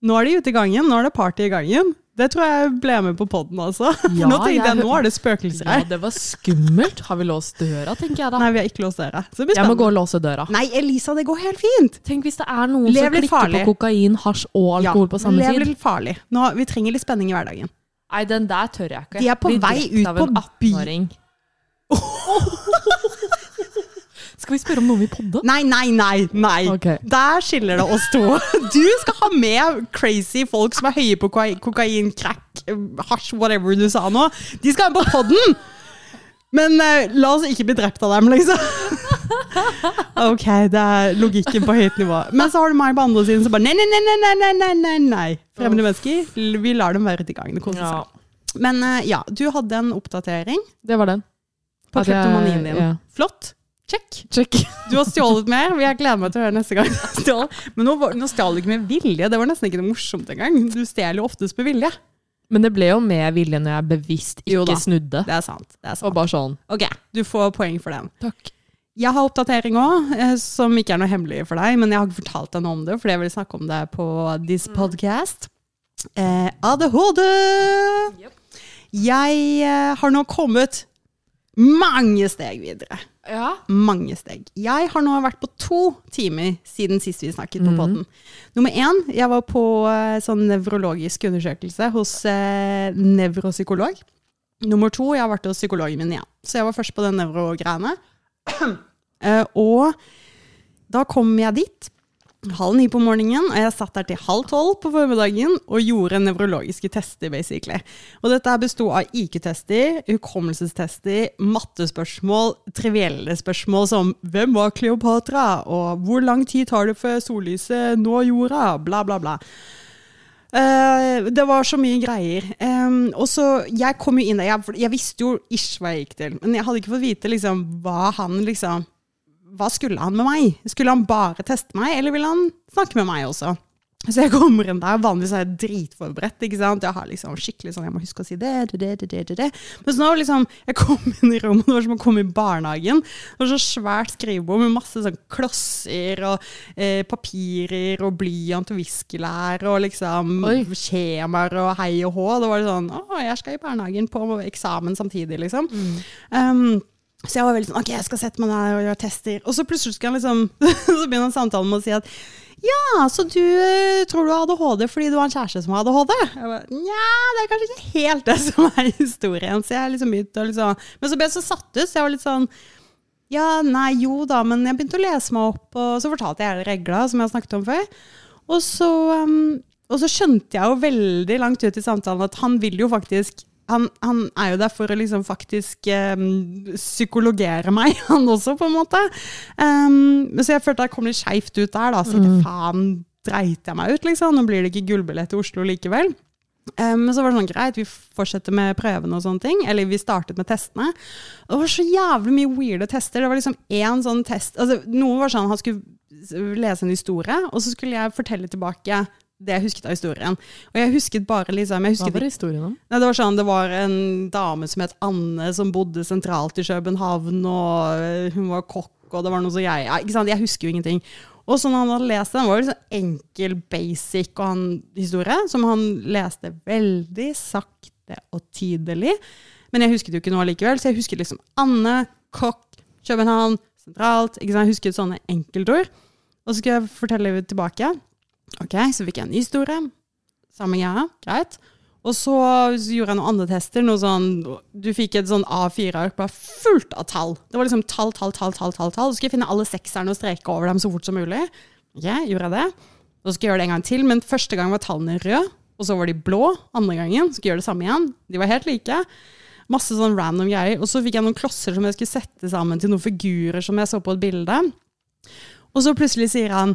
[SPEAKER 1] Nå er de ute i gangen, nå er det party i gangen. Det tror jeg ble med på podden, altså.
[SPEAKER 2] Ja,
[SPEAKER 1] nå tenkte jeg,
[SPEAKER 2] jeg-
[SPEAKER 1] nå er det spøkelser
[SPEAKER 2] Ja,
[SPEAKER 1] her.
[SPEAKER 2] det var skummelt. Har vi låst døra, tenker jeg da.
[SPEAKER 1] Nei, vi har ikke låst dere. Så det blir
[SPEAKER 2] jeg må
[SPEAKER 1] spennende.
[SPEAKER 2] gå og låse døra.
[SPEAKER 1] Nei, Elisa, det går helt fint.
[SPEAKER 2] Tenk hvis det er noen
[SPEAKER 1] Lev
[SPEAKER 2] som
[SPEAKER 1] litt
[SPEAKER 2] klikker
[SPEAKER 1] farlig.
[SPEAKER 2] på kokain, hasj og alkohol på samme
[SPEAKER 1] lev
[SPEAKER 2] tid.
[SPEAKER 1] litt farlig. Nå, vi trenger litt spenning i hverdagen.
[SPEAKER 2] Nei, den der tør jeg ikke.
[SPEAKER 1] De er på
[SPEAKER 2] Bli
[SPEAKER 1] vei
[SPEAKER 2] drept
[SPEAKER 1] ut
[SPEAKER 2] av
[SPEAKER 1] på
[SPEAKER 2] en
[SPEAKER 1] by.
[SPEAKER 2] 18-åring. Skal vi spørre om noen vil podde?
[SPEAKER 1] Nei, nei, nei, nei.
[SPEAKER 2] Ok.
[SPEAKER 1] Der skiller det oss to. Du skal ha med crazy folk som er høye på koka- kokain, crack, hasj, whatever du sa nå. De skal ha med på podden! Men eh, la oss ikke bli drept av dem, liksom. Ok, det er logikken på høyt nivå. Men så har du meg på andre siden som bare nei, nei, nei, nei, nei, nei, nei, nei, nei. Fremmede mennesker, l- vi lar dem være ute i gangen. og kose
[SPEAKER 2] Ja,
[SPEAKER 1] seg. Men eh, ja, du hadde en oppdatering
[SPEAKER 2] det var den.
[SPEAKER 1] på
[SPEAKER 2] At jeg-
[SPEAKER 1] kleptomanien din.
[SPEAKER 2] ja.
[SPEAKER 1] Flott. Check.
[SPEAKER 2] Check.
[SPEAKER 1] Du har stjålet mer, og jeg gleder meg til å høre neste gang. du stjal. Men nå, var- nå stjal du ikke med vilje, det var nesten ikke noe morsomt engang. Du stjeler jo oftest med vilje.
[SPEAKER 2] Men det ble jo med vilje når jeg bevisst
[SPEAKER 1] Jo da.
[SPEAKER 2] ikke snudde.
[SPEAKER 1] Det er sant. Det er sant.
[SPEAKER 2] Og bare sånn.
[SPEAKER 1] Ok, du får poeng for den.
[SPEAKER 2] Takk.
[SPEAKER 1] Jeg har oppdatering òg, som ikke er noe hemmelig for deg, men jeg har ikke fortalt deg noe om det, fordi jeg vil snakke om det på this podcast. Eh, ADHD! Jeg eh, har nå kommet mange steg videre.
[SPEAKER 2] Ja.
[SPEAKER 1] mange steg. Jeg har nå vært på to timer siden sist vi snakket på podden. Nummer én, jeg var på eh, sånn nevrologisk undersøkelse hos eh, nevropsykolog. Nummer to, jeg har vært hos psykologen min igjen. Så jeg var først på den nevrogreiene. Eh, og da kom jeg dit halv ni på morgenen, og jeg satt der til halv tolv på formiddagen og gjorde nevrologiske tester, basically. Og dette her besto av IQ-tester, hukommelsestester, mattespørsmål, trivielle spørsmål som 'Hvem var Kleopatra?' og 'Hvor lang tid tar det før sollyset når jorda?' bla, bla, bla. Eh, det var så mye greier. Em, og så, Jeg kom jo inn der, jeg, jeg visste jo ish hva jeg gikk til, men jeg hadde ikke fått vite liksom, hva han liksom hva skulle han med meg? Skulle han bare teste meg, eller ville han snakke med meg også? Så jeg kommer inn der, vanligvis er jeg dritforberedt, ikke sant? Jeg har liksom skikkelig sånn, jeg må huske å si det, det, det, det, det, det, det. Men så nå liksom, jeg kom inn i rommet, det var som å komme i barnehagen. Det var så svært skrivebord med masse sånn klosser og eh, papirer og blyant og viskelær og liksom
[SPEAKER 2] Oi.
[SPEAKER 1] skjemaer og hei og hå. Da var det sånn, å, jeg skal i barnehagen på eksamen samtidig, liksom. Um, så jeg var veldig sånn, ok, jeg skal sette meg der og gjøre tester. Og så plutselig skal han liksom, så begynner han samtalen med å si at, ja, så du eh, tror du har ADHD fordi du har en kjæreste som har ADHD? Jeg bare, Nja, det er kanskje ikke helt det som er historien. Så jeg liksom begynte å liksom, men så ble jeg så satt ut, så jeg var litt sånn, ja, nei, jo da, men jeg begynte å lese meg opp, og så fortalte jeg hele regla som jeg har snakket om før. Og så, um, og så skjønte jeg jo veldig langt ut i samtalen at han vil jo faktisk han, han er jo der for å liksom faktisk um, psykologere meg, han også, på en måte. Um, så jeg følte jeg kom litt skeivt ut der, da. Så tenkte jeg, faen, dreit jeg meg ut, liksom? Nå blir det ikke gullbillett til Oslo likevel. Eh, Men så var det sånn greit, vi fortsetter med prøvene og sånne ting. Eller vi startet med testene. Og det var så jævlig mye weirde tester. Det var liksom én sånn test altså, Noe var sånn han skulle s- lese en historie, og så skulle jeg fortelle tilbake det jeg husket av historien. Og jeg husket bare liksom jeg
[SPEAKER 2] Hva
[SPEAKER 1] husket
[SPEAKER 2] var historien om?
[SPEAKER 1] Nei, det var sånn, det var en dame som het Anne, som bodde sentralt i København, og eh, hun var kokk, og det var noe som jeg ja, ikke sant? Jeg husker jo ingenting. Og sånn han hadde lest den, var det liksom enkel, basic og han, historie, som han leste veldig sakte og tidlig. Men jeg husket jo ikke noe likevel, så jeg husket liksom Anne, kokk, København, sentralt. Ikke sant? Jeg husket sånne enkeltord. Og så skulle jeg fortelle tilbake. Ok, så fikk jeg en ny historie. Samme greia, greit. Og så gjorde jeg noen andre tester. Noe sånn, du fikk et sånn A4-ark bare fullt av tall. Det var liksom tall, tall, tall, tall, tall, tall. Så skulle jeg finne alle sekserne og streke over dem så fort som mulig. Ok, gjorde jeg det. Så skulle jeg gjøre det en gang til, men første gang var tallene røde. Og så var de blå andre gangen. Skulle gjøre det samme igjen. De var helt like. Masse sånn random greier. Og så fikk jeg noen klosser som jeg skulle sette sammen til noen figurer som jeg så på et bilde. Og så plutselig sier han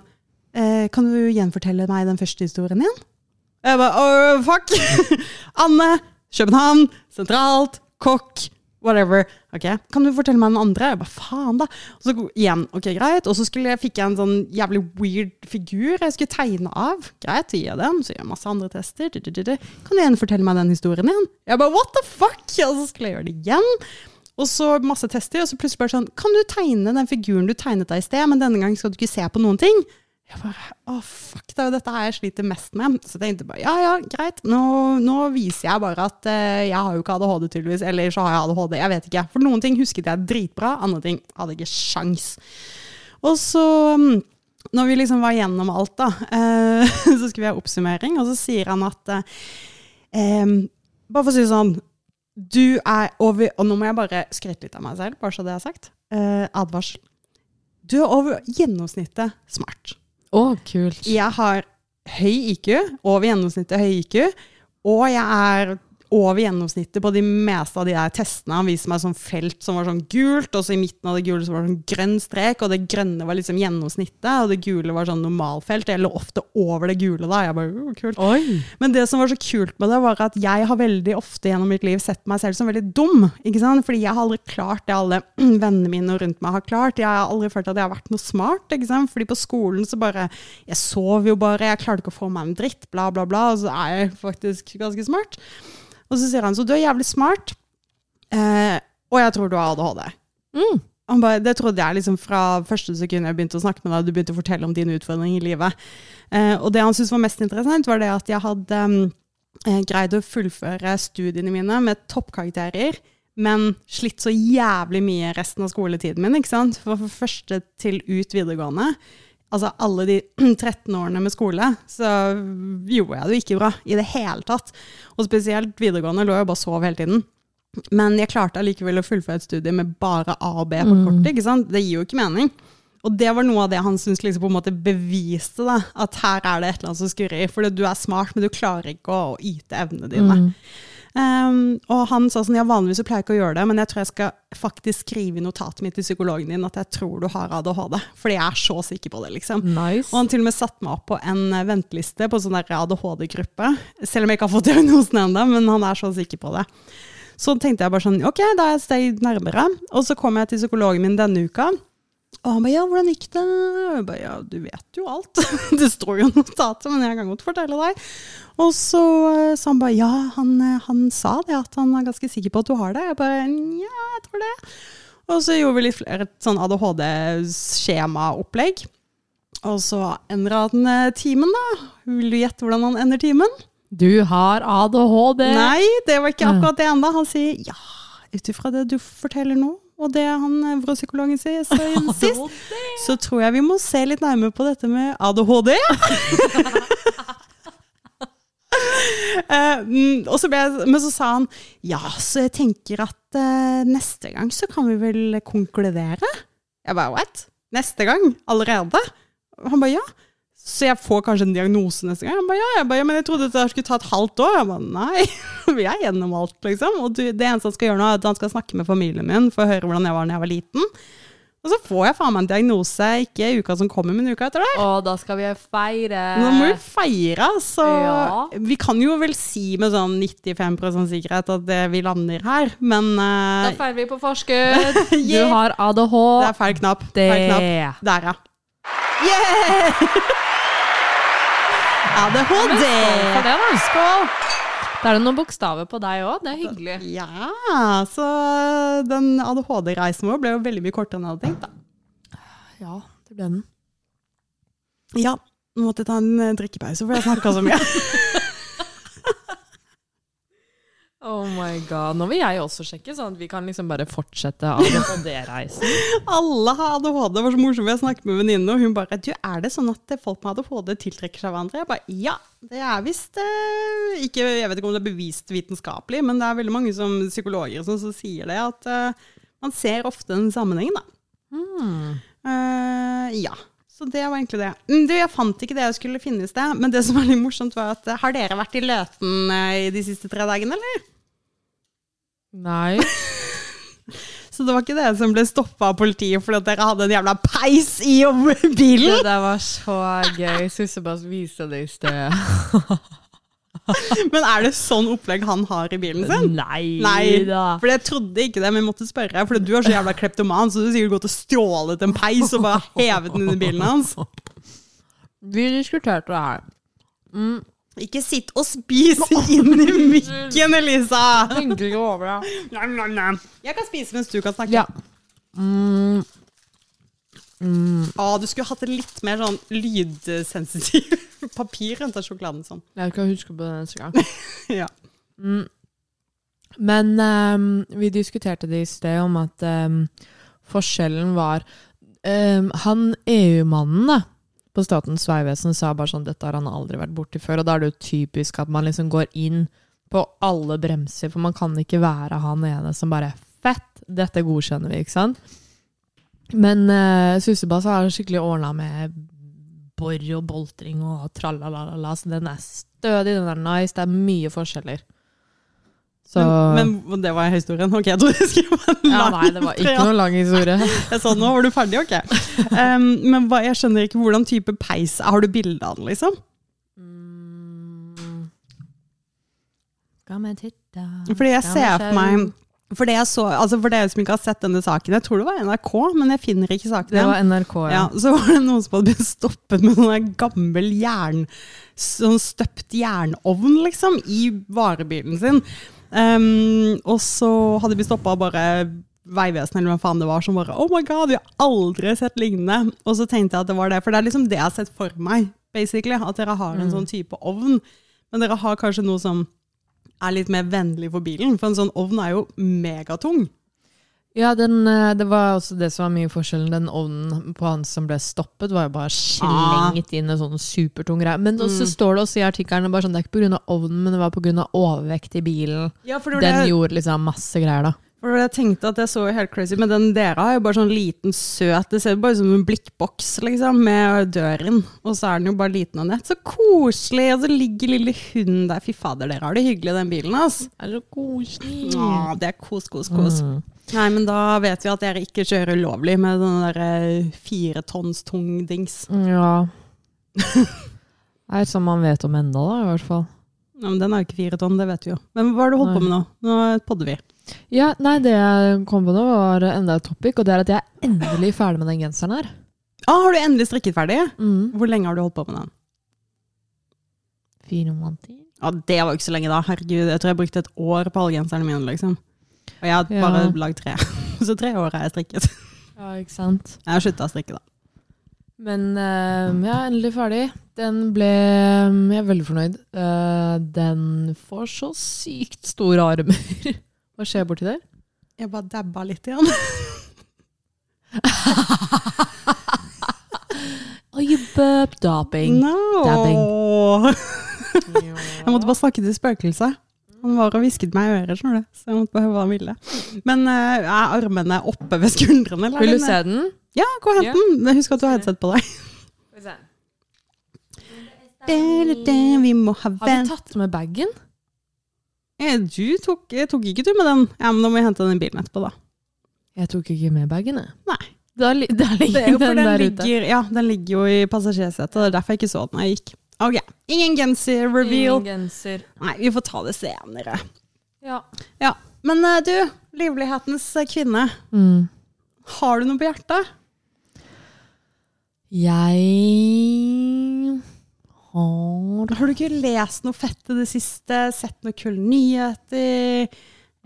[SPEAKER 1] eh, Kan du gjenfortelle meg den første historien igjen? Og jeg bare åh, fuck! Anne, København, sentralt, kokk, whatever. Ok, Kan du fortelle meg den andre? Jeg bare faen, da. Og så go- igjen, ok, greit. Og så skulle jeg, fikk jeg en sånn jævlig weird figur jeg skulle tegne av. Greit, så gir jeg den. Så gjør jeg masse andre tester. Du, du, du, du. Kan du gjenfortelle meg den historien igjen? Jeg bare what the fuck? Og så skulle jeg gjøre det igjen. Og så masse tester, og så plutselig bare sånn Kan du tegne den figuren du tegnet deg i sted, men denne gangen skal du ikke se på noen ting? Jeg bare, å fuck, det er jo dette her jeg sliter mest med. Så jeg tenkte bare, ja ja, greit, nå, nå viser jeg bare at eh, jeg har jo ikke ADHD tydeligvis, eller så har jeg ADHD, jeg vet ikke. For noen ting husket jeg dritbra, andre ting hadde jeg ikke sjans. Og så, mm, når vi liksom var gjennom alt da, eh, så skulle vi ha oppsummering, og så sier han at, eh, em, bare for å si det sånn, du er over, og nå må jeg bare skryte litt av meg selv, bare så det er sagt, eh, advarsel. Du er over gjennomsnittet smart.
[SPEAKER 2] Å, kult.
[SPEAKER 1] Jeg har høy IQ, over gjennomsnittet høy IQ, og jeg er over gjennomsnittet på de meste av de der testene. Han viste meg sånn felt som var sånn gult, og så i midten av det gule så var det sånn grønn strek, og det grønne var liksom gjennomsnittet, og det gule var sånn normalfelt. Jeg lå ofte over det gule da. Jeg bare, «Å, kult.
[SPEAKER 2] Oi.
[SPEAKER 1] Men det som var så kult med det, var at jeg har veldig ofte gjennom mitt liv sett meg selv som veldig dum. ikke sant? Fordi jeg har aldri klart det alle vennene mine og rundt meg har klart. Jeg har aldri følt at jeg har vært noe smart. ikke sant? Fordi på skolen så bare Jeg sov jo bare, jeg klarte ikke å få meg en dritt, bla, bla, bla. Og så er jeg faktisk ganske smart. Og så sier han så du er jævlig smart, eh, og jeg tror du har ADHD.
[SPEAKER 2] Mm.
[SPEAKER 1] Han bare, det trodde jeg liksom fra første sekund jeg begynte å snakke med deg, og du begynte å fortelle om dine utfordringer i livet. Eh, og det han syntes var mest interessant, var det at jeg hadde mm, eh, greid å fullføre studiene mine med toppkarakterer, men slitt så jævlig mye resten av skoletiden min, ikke sant? For, for første til ut videregående, altså alle de 13 årene med skole, så gjorde jeg det jo ikke bra i det hele tatt. Og spesielt videregående lå jeg og bare og sov hele tiden. Men jeg klarte allikevel å fullføre et studie med bare A og B på kortet. ikke sant? Det gir jo ikke mening. Og det var noe av det han syntes liksom på en måte beviste, da, at her er det et eller annet som skurrer. For du er smart, men du klarer ikke å, å yte evnene dine. Um, og han sa sånn, ja vanligvis så pleier jeg ikke å gjøre det, men jeg tror jeg skal faktisk skrive i notatet mitt til psykologen din at jeg tror du har ADHD. Fordi jeg er så sikker på det, liksom.
[SPEAKER 2] Nice.
[SPEAKER 1] Og han til og med satte meg opp på en eh, venteliste på sånn der ADHD-gruppe. Selv om jeg ikke har fått diagnosen ennå, men han er så sikker på det. Så tenkte jeg bare sånn, ok, da er jeg et steg nærmere. Og så kom jeg til psykologen min denne uka. Og han ba, ja, hvordan gikk det? Jeg ba, ja, du vet jo alt. Det står jo i notatet, men jeg kan godt fortelle deg. Og så eh, sa han ba, ja, han, eh, han sa det, at han er ganske sikker på at du har det. Jeg bare, ja, jeg tror det. Og så gjorde vi litt flere sånn ADHD-skjemaopplegg. Og så endra han eh, timen, da. Vil du gjette hvordan han ender timen?
[SPEAKER 2] Du har ADHD.
[SPEAKER 1] Nei, det var ikke akkurat det ennå. Han sier ja, ut ifra det du forteller nå, og det han eh, nevropsykologen sier så, sist, så tror jeg vi må se litt nærmere på dette med ADHD. Eh, mm, og så ble jeg, men så sa han ja, så jeg tenker at eh, neste gang så kan vi vel konkludere. Jeg bare what? Neste gang? Allerede? Han bare ja. Så jeg får kanskje en diagnose neste gang? Han ba, ja, jeg ba, ja, men jeg trodde det skulle ta et halvt år. Jeg ba, nei, vi er gjennom alt, liksom. Og du, det eneste han skal gjøre nå, er at han skal snakke med familien min for å høre hvordan jeg var da jeg var liten. Og Og så får jeg faen meg en diagnose ikke i uka som kommer, men uka etter det.
[SPEAKER 2] Og da skal vi feire.
[SPEAKER 1] Nå må vi feire, så
[SPEAKER 2] Eh. Ja.
[SPEAKER 1] Vi kan jo vel si med sånn 95 sikkerhet at eh, vi lander her, men
[SPEAKER 2] Da
[SPEAKER 1] eh,
[SPEAKER 2] feirer vi på forskudd. Du
[SPEAKER 1] Yeah.
[SPEAKER 2] har
[SPEAKER 1] det
[SPEAKER 2] ADHD.
[SPEAKER 1] er feil knapp. Feil knapp. Der, ja. Yeah! ADHD!
[SPEAKER 2] For det, da.
[SPEAKER 1] Skål!
[SPEAKER 2] Da er det noen bokstaver på deg òg. Det er hyggelig.
[SPEAKER 1] Ja, så eh, den ADHD-reisen vår ble jo veldig mye kortere enn jeg hadde tenkt. da.
[SPEAKER 2] Ja, det ble den.
[SPEAKER 1] Ja, nå måtte jeg ta en eh, drikkepause, for jeg snakka så mye.
[SPEAKER 2] Oh my god. Nå vil jeg også sjekke, sånn at vi kan liksom bare fortsette ADHD-reisen.
[SPEAKER 1] Alle har ADHD. Det var så morsomt. Jeg snakket med venninnen, og hun bare Du, er det sånn at folk med ADHD tiltrekker seg hverandre? Jeg bare Ja, det er visst eh, ikke Jeg vet ikke om det er bevist vitenskapelig, men det er veldig mange som psykologer og sånn som sier det, at eh, man ser ofte den sammenhengen, da. Eh, ja. Så det var egentlig det. Mm, Du, jeg fant ikke det jeg skulle finne i sted, men det som var litt morsomt, var at eh, Har dere vært i Løten eh, i de siste tre dagene, eller?
[SPEAKER 2] Nei.
[SPEAKER 1] Så det var ikke det som ble stoppa av politiet fordi at dere hadde en jævla peis i bilen?
[SPEAKER 2] Det der var så gøy. Susse bare viste det i sted.
[SPEAKER 1] Men er det sånn opplegg han har i bilen sin?
[SPEAKER 2] Nei,
[SPEAKER 1] Nei,
[SPEAKER 2] da.
[SPEAKER 1] for jeg trodde ikke det, men jeg måtte spørre. For du er så jævla kleptoman, så du har sikkert gått og stjålet en peis og bare hevet den under bilen hans.
[SPEAKER 2] Vi diskuterte det her.
[SPEAKER 1] Ikke sitt og spis inn i mikken, Elisa!
[SPEAKER 2] Tenkte ikke over det.
[SPEAKER 1] Nam, nam, nam. Jeg kan spise mens du kan snakke.
[SPEAKER 2] Ja. Mm.
[SPEAKER 1] Å, du skulle hatt et litt mer sånn lydsensitiv papir rundt den sjokoladen sånn.
[SPEAKER 2] Jeg skal huske på det neste gang.
[SPEAKER 1] Ja.
[SPEAKER 2] Men ehm, vi diskuterte det i sted om at ehm, forskjellen var ehm, Han EU-mannen da, på Statens vegvesen sa bare sånn Dette har han aldri vært borti før. Og da er det jo typisk at man liksom går inn på alle bremser, for man kan ikke være han ene som bare Fett! Dette godkjenner vi, ikke sant? Men uh, Sussebass er skikkelig ordna med bor og boltring og tralalala, så den er stødig, den er nice, det er mye forskjeller. Så
[SPEAKER 1] Men, men det var historien. Ok, jeg trodde det skulle være en
[SPEAKER 2] ja,
[SPEAKER 1] lang
[SPEAKER 2] nei, det var ikke
[SPEAKER 1] preamp.
[SPEAKER 2] noe lang historie.
[SPEAKER 1] Jeg sa nå var du ferdig, ok. Em, men hva, jeg skjønner ikke hvordan type peis Har du bilde av den, liksom?
[SPEAKER 2] Skal vi titte
[SPEAKER 1] Fordi jeg ser for meg for det, jeg så, altså for dere som ikke har sett denne saken, jeg tror det var NRK, men jeg finner ikke saken.
[SPEAKER 2] Det
[SPEAKER 1] igjen.
[SPEAKER 2] var NRK, ja.
[SPEAKER 1] ja, så var det noen som hadde blitt stoppet med sånn der gammel jern, sånn støpt jernovn, liksom, i varebilen sin. Em, og så hadde de blitt stoppa av bare Vegvesenet eller hvem faen det var, som bare Oh my god, vi har aldri sett lignende. Og så tenkte jeg at det var det, for det er liksom det jeg har sett for meg, basically. At dere har en sånn type ovn. Men dere har kanskje noe som er litt mer vennlig for bilen, for en sånn ovn er jo megatung.
[SPEAKER 2] Ja, den, eh, det var også det som var mye forskjellen. Den ovnen på han som ble stoppet, var jo bare
[SPEAKER 1] Ah.
[SPEAKER 2] slengt inn en sånn supertung greie. Men
[SPEAKER 1] Mm.
[SPEAKER 2] så står det også i artikkelen bare sånn, det er ikke pga. ovnen, men det var pga. overvekt i bilen.
[SPEAKER 1] Ja, for
[SPEAKER 2] Den gjorde liksom masse greier, da.
[SPEAKER 1] For jeg tenkte at jeg så jo helt crazy, men den dere har jo bare sånn liten søt, det ser jo bare ut som en blikkboks, liksom, med døren, og så er den jo bare liten og nett. Så koselig, og så ligger lille hunden der. Fy fader, dere har det hyggelig i den bilen, ass.
[SPEAKER 2] Er så koselig.
[SPEAKER 1] Ja, det er kos, kos, kos. Nei, men da vet vi at dere ikke kjører ulovlig med den der eh, fire tons tung dings.
[SPEAKER 2] Ja. Det er som man vet om enda, da, i hvert fall.
[SPEAKER 1] Ja, men den er jo ikke fire ton, det vet vi jo. Men hva har du holdt på med nå? Nå podder vi.
[SPEAKER 2] Ja, nei, det jeg kom på nå var enda et topic, og det er at jeg er endelig ferdig med den genseren her.
[SPEAKER 1] Ah, har du endelig strikket ferdig?
[SPEAKER 2] Mm.
[SPEAKER 1] Hvor lenge har du holdt på med den?
[SPEAKER 2] Fire måneder.
[SPEAKER 1] Ja, det var jo ikke så lenge da. Herregud, jeg tror jeg brukte et år på alle genserne mine, liksom. Og jeg har
[SPEAKER 2] Ja.
[SPEAKER 1] bare lagd tre. Så tre år har jeg strikket.
[SPEAKER 2] Ja, ikke sant.
[SPEAKER 1] Jeg har slutta å strikke, da.
[SPEAKER 2] Men eh, jeg er endelig ferdig. Den ble Jeg er veldig fornøyd. Eh, den får så sykt store armer. Hva skjer borti der?
[SPEAKER 1] Jeg bare dabba litt igjen.
[SPEAKER 2] Oh, you burp dapping.
[SPEAKER 1] No. Jeg måtte bare snakke til spøkelset. Han var og hvisket meg i øret, skjønner du. Så jeg måtte bare høre hva han ville. Men eh, er armene oppe ved skuldrene? Eller? er
[SPEAKER 2] Vil du
[SPEAKER 1] de
[SPEAKER 2] se
[SPEAKER 1] ned?
[SPEAKER 2] den?
[SPEAKER 1] Ja, gå og hent
[SPEAKER 2] Ja.
[SPEAKER 1] den. Men Husk at du har headset på deg. Vi må ha
[SPEAKER 2] Har vi
[SPEAKER 1] venn.
[SPEAKER 2] tatt med bagen?
[SPEAKER 1] Eh, Du tok, eh, tok ikke du med den? Ja, men da må jeg hente den i bilen etterpå, da.
[SPEAKER 2] Jeg tok ikke med bagen, jeg.
[SPEAKER 1] Nei.
[SPEAKER 2] Der, li- der
[SPEAKER 1] Det
[SPEAKER 2] ligger
[SPEAKER 1] er jo for
[SPEAKER 2] den
[SPEAKER 1] den
[SPEAKER 2] der ute.
[SPEAKER 1] ligger, ja, den ligger jo i passasjersetet, og det er derfor jeg ikke så den når jeg gikk. Ok, ingen genser-reveal.
[SPEAKER 2] Ingen genser.
[SPEAKER 1] Nei, vi får ta det senere.
[SPEAKER 2] Ja.
[SPEAKER 1] Ja, Men eh, du, livlighetens eh, kvinne,
[SPEAKER 2] Mm.
[SPEAKER 1] har du noe på hjertet?
[SPEAKER 2] Jeg har
[SPEAKER 1] Har du ikke lest noe fett i det siste? Sett noen kule nyheter?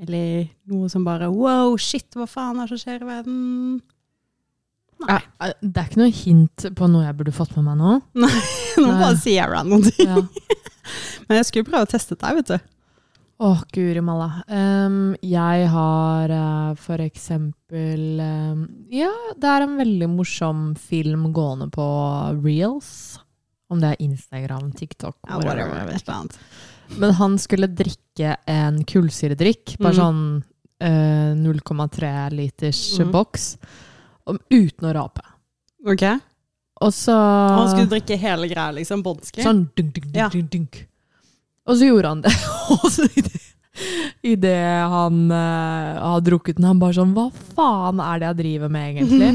[SPEAKER 1] Eller noe som bare Wow, shit, hva faen er det som skjer i verden?
[SPEAKER 2] Eh, eh, Det er ikke noe hint på noe jeg burde fått med meg nå.
[SPEAKER 1] Nå
[SPEAKER 2] Nei.
[SPEAKER 1] bare sier jeg random ting.
[SPEAKER 2] Ja.
[SPEAKER 1] Men jeg skulle prøve å teste deg, vet du.
[SPEAKER 2] Å, guri malla. Em, jeg har eh, for eksempel em, Ja, det er en veldig morsom film gående på reels. Om det er Instagram, TikTok,
[SPEAKER 1] Ja,
[SPEAKER 2] whatever.
[SPEAKER 1] whatever, et eller annet.
[SPEAKER 2] Men han skulle drikke en kullsyredrikk, bare
[SPEAKER 1] Mm.
[SPEAKER 2] sånn eh, 0,3 liters
[SPEAKER 1] Mm.
[SPEAKER 2] boks, om, uten å rape.
[SPEAKER 1] Ok?
[SPEAKER 2] Og så
[SPEAKER 1] Og han skulle drikke hele greia, liksom. Båndskri.
[SPEAKER 2] Ah. Sånn dunk, dunk, dunk,
[SPEAKER 1] Ja.
[SPEAKER 2] dunk, dunk. Og så gjorde han det. Og så idet han eh, har drukket den, han bare sånn Hva faen er det jeg driver med, egentlig?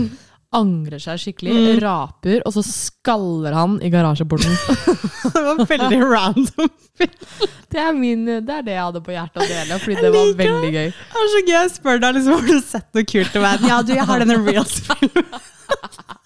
[SPEAKER 2] Angrer seg skikkelig,
[SPEAKER 1] Mm.
[SPEAKER 2] raper, og så skaller han i garasjeporten.
[SPEAKER 1] det var veldig random.
[SPEAKER 2] Det er, min, det er det jeg hadde på hjertet å dele, fordi det var
[SPEAKER 1] liker det.
[SPEAKER 2] veldig gøy.
[SPEAKER 1] Det er så gøy. Jeg spør deg liksom, har du sett noe kult i verden. Ja, du, jeg har denne reels-filmen.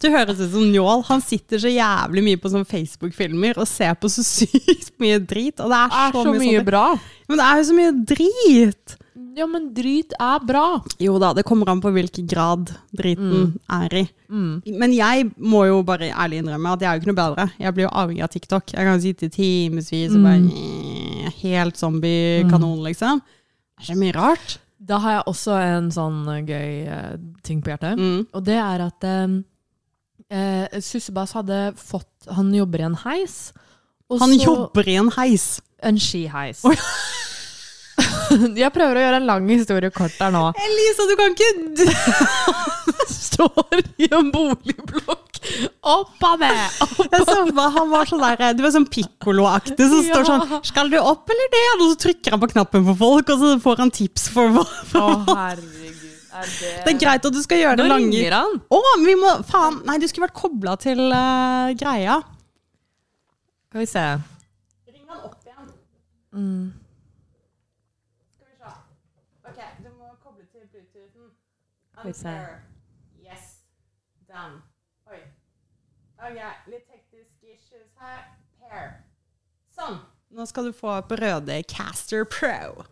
[SPEAKER 1] Du høres ut som Njål. Han sitter så jævlig mye på sånne Facebook-filmer og ser på så sykt mye drit. Og det er,
[SPEAKER 2] Det er
[SPEAKER 1] så, mye, sånn- sånt.
[SPEAKER 2] bra.
[SPEAKER 1] Men det er jo så mye drit!
[SPEAKER 2] Ja, men dryt er bra.
[SPEAKER 1] Jo da, det kommer an på hvilken grad driten er i. Men jeg må jo bare ærlig innrømme at jeg er jo ikke noe bedre. Jeg blir jo avhengig av TikTok. Jeg kan sitte i timevis og bare eh, Helt zombie-kanon, liksom. Det er så mye rart.
[SPEAKER 2] Da har jeg også en sånn eh, gøy eh, ting på hjertet.
[SPEAKER 1] Mm.
[SPEAKER 2] Og det er at eh, eh, Sussebass hadde fått Han jobber i en heis. og
[SPEAKER 1] Han
[SPEAKER 2] så-
[SPEAKER 1] jobber i en heis.
[SPEAKER 2] En skiheis.
[SPEAKER 1] Oi.
[SPEAKER 2] jeg prøver å gjøre en lang historie kort der nå.
[SPEAKER 1] Elisa, du kan ikke
[SPEAKER 2] Står i en boligblokk. Opp av det!
[SPEAKER 1] Jeg så for meg han var sånn der Du er sånn pikkolo-aktig som
[SPEAKER 2] Ja.
[SPEAKER 1] står sånn Skal du opp eller det? Og så trykker han på knappen for folk, og så får han tips for hva
[SPEAKER 2] Å, herregud. Er
[SPEAKER 1] Det er greit at du skal gjøre det
[SPEAKER 2] Nå
[SPEAKER 1] lange.
[SPEAKER 2] ringer han.
[SPEAKER 1] Å, vi må Faen. Nei, du skulle vært kobla til eh, greia.
[SPEAKER 2] Skal vi se.
[SPEAKER 1] Ring han opp igjen.
[SPEAKER 2] Mm.
[SPEAKER 1] Skal vi se. Ok, du må koble til Bluetoothen.
[SPEAKER 2] Skal vi se. Enter.
[SPEAKER 1] Yes. Done. Oi. Ok, litt tekniske issues her. Pair. Sånn. Nå skal du få opp røde Caster Pro.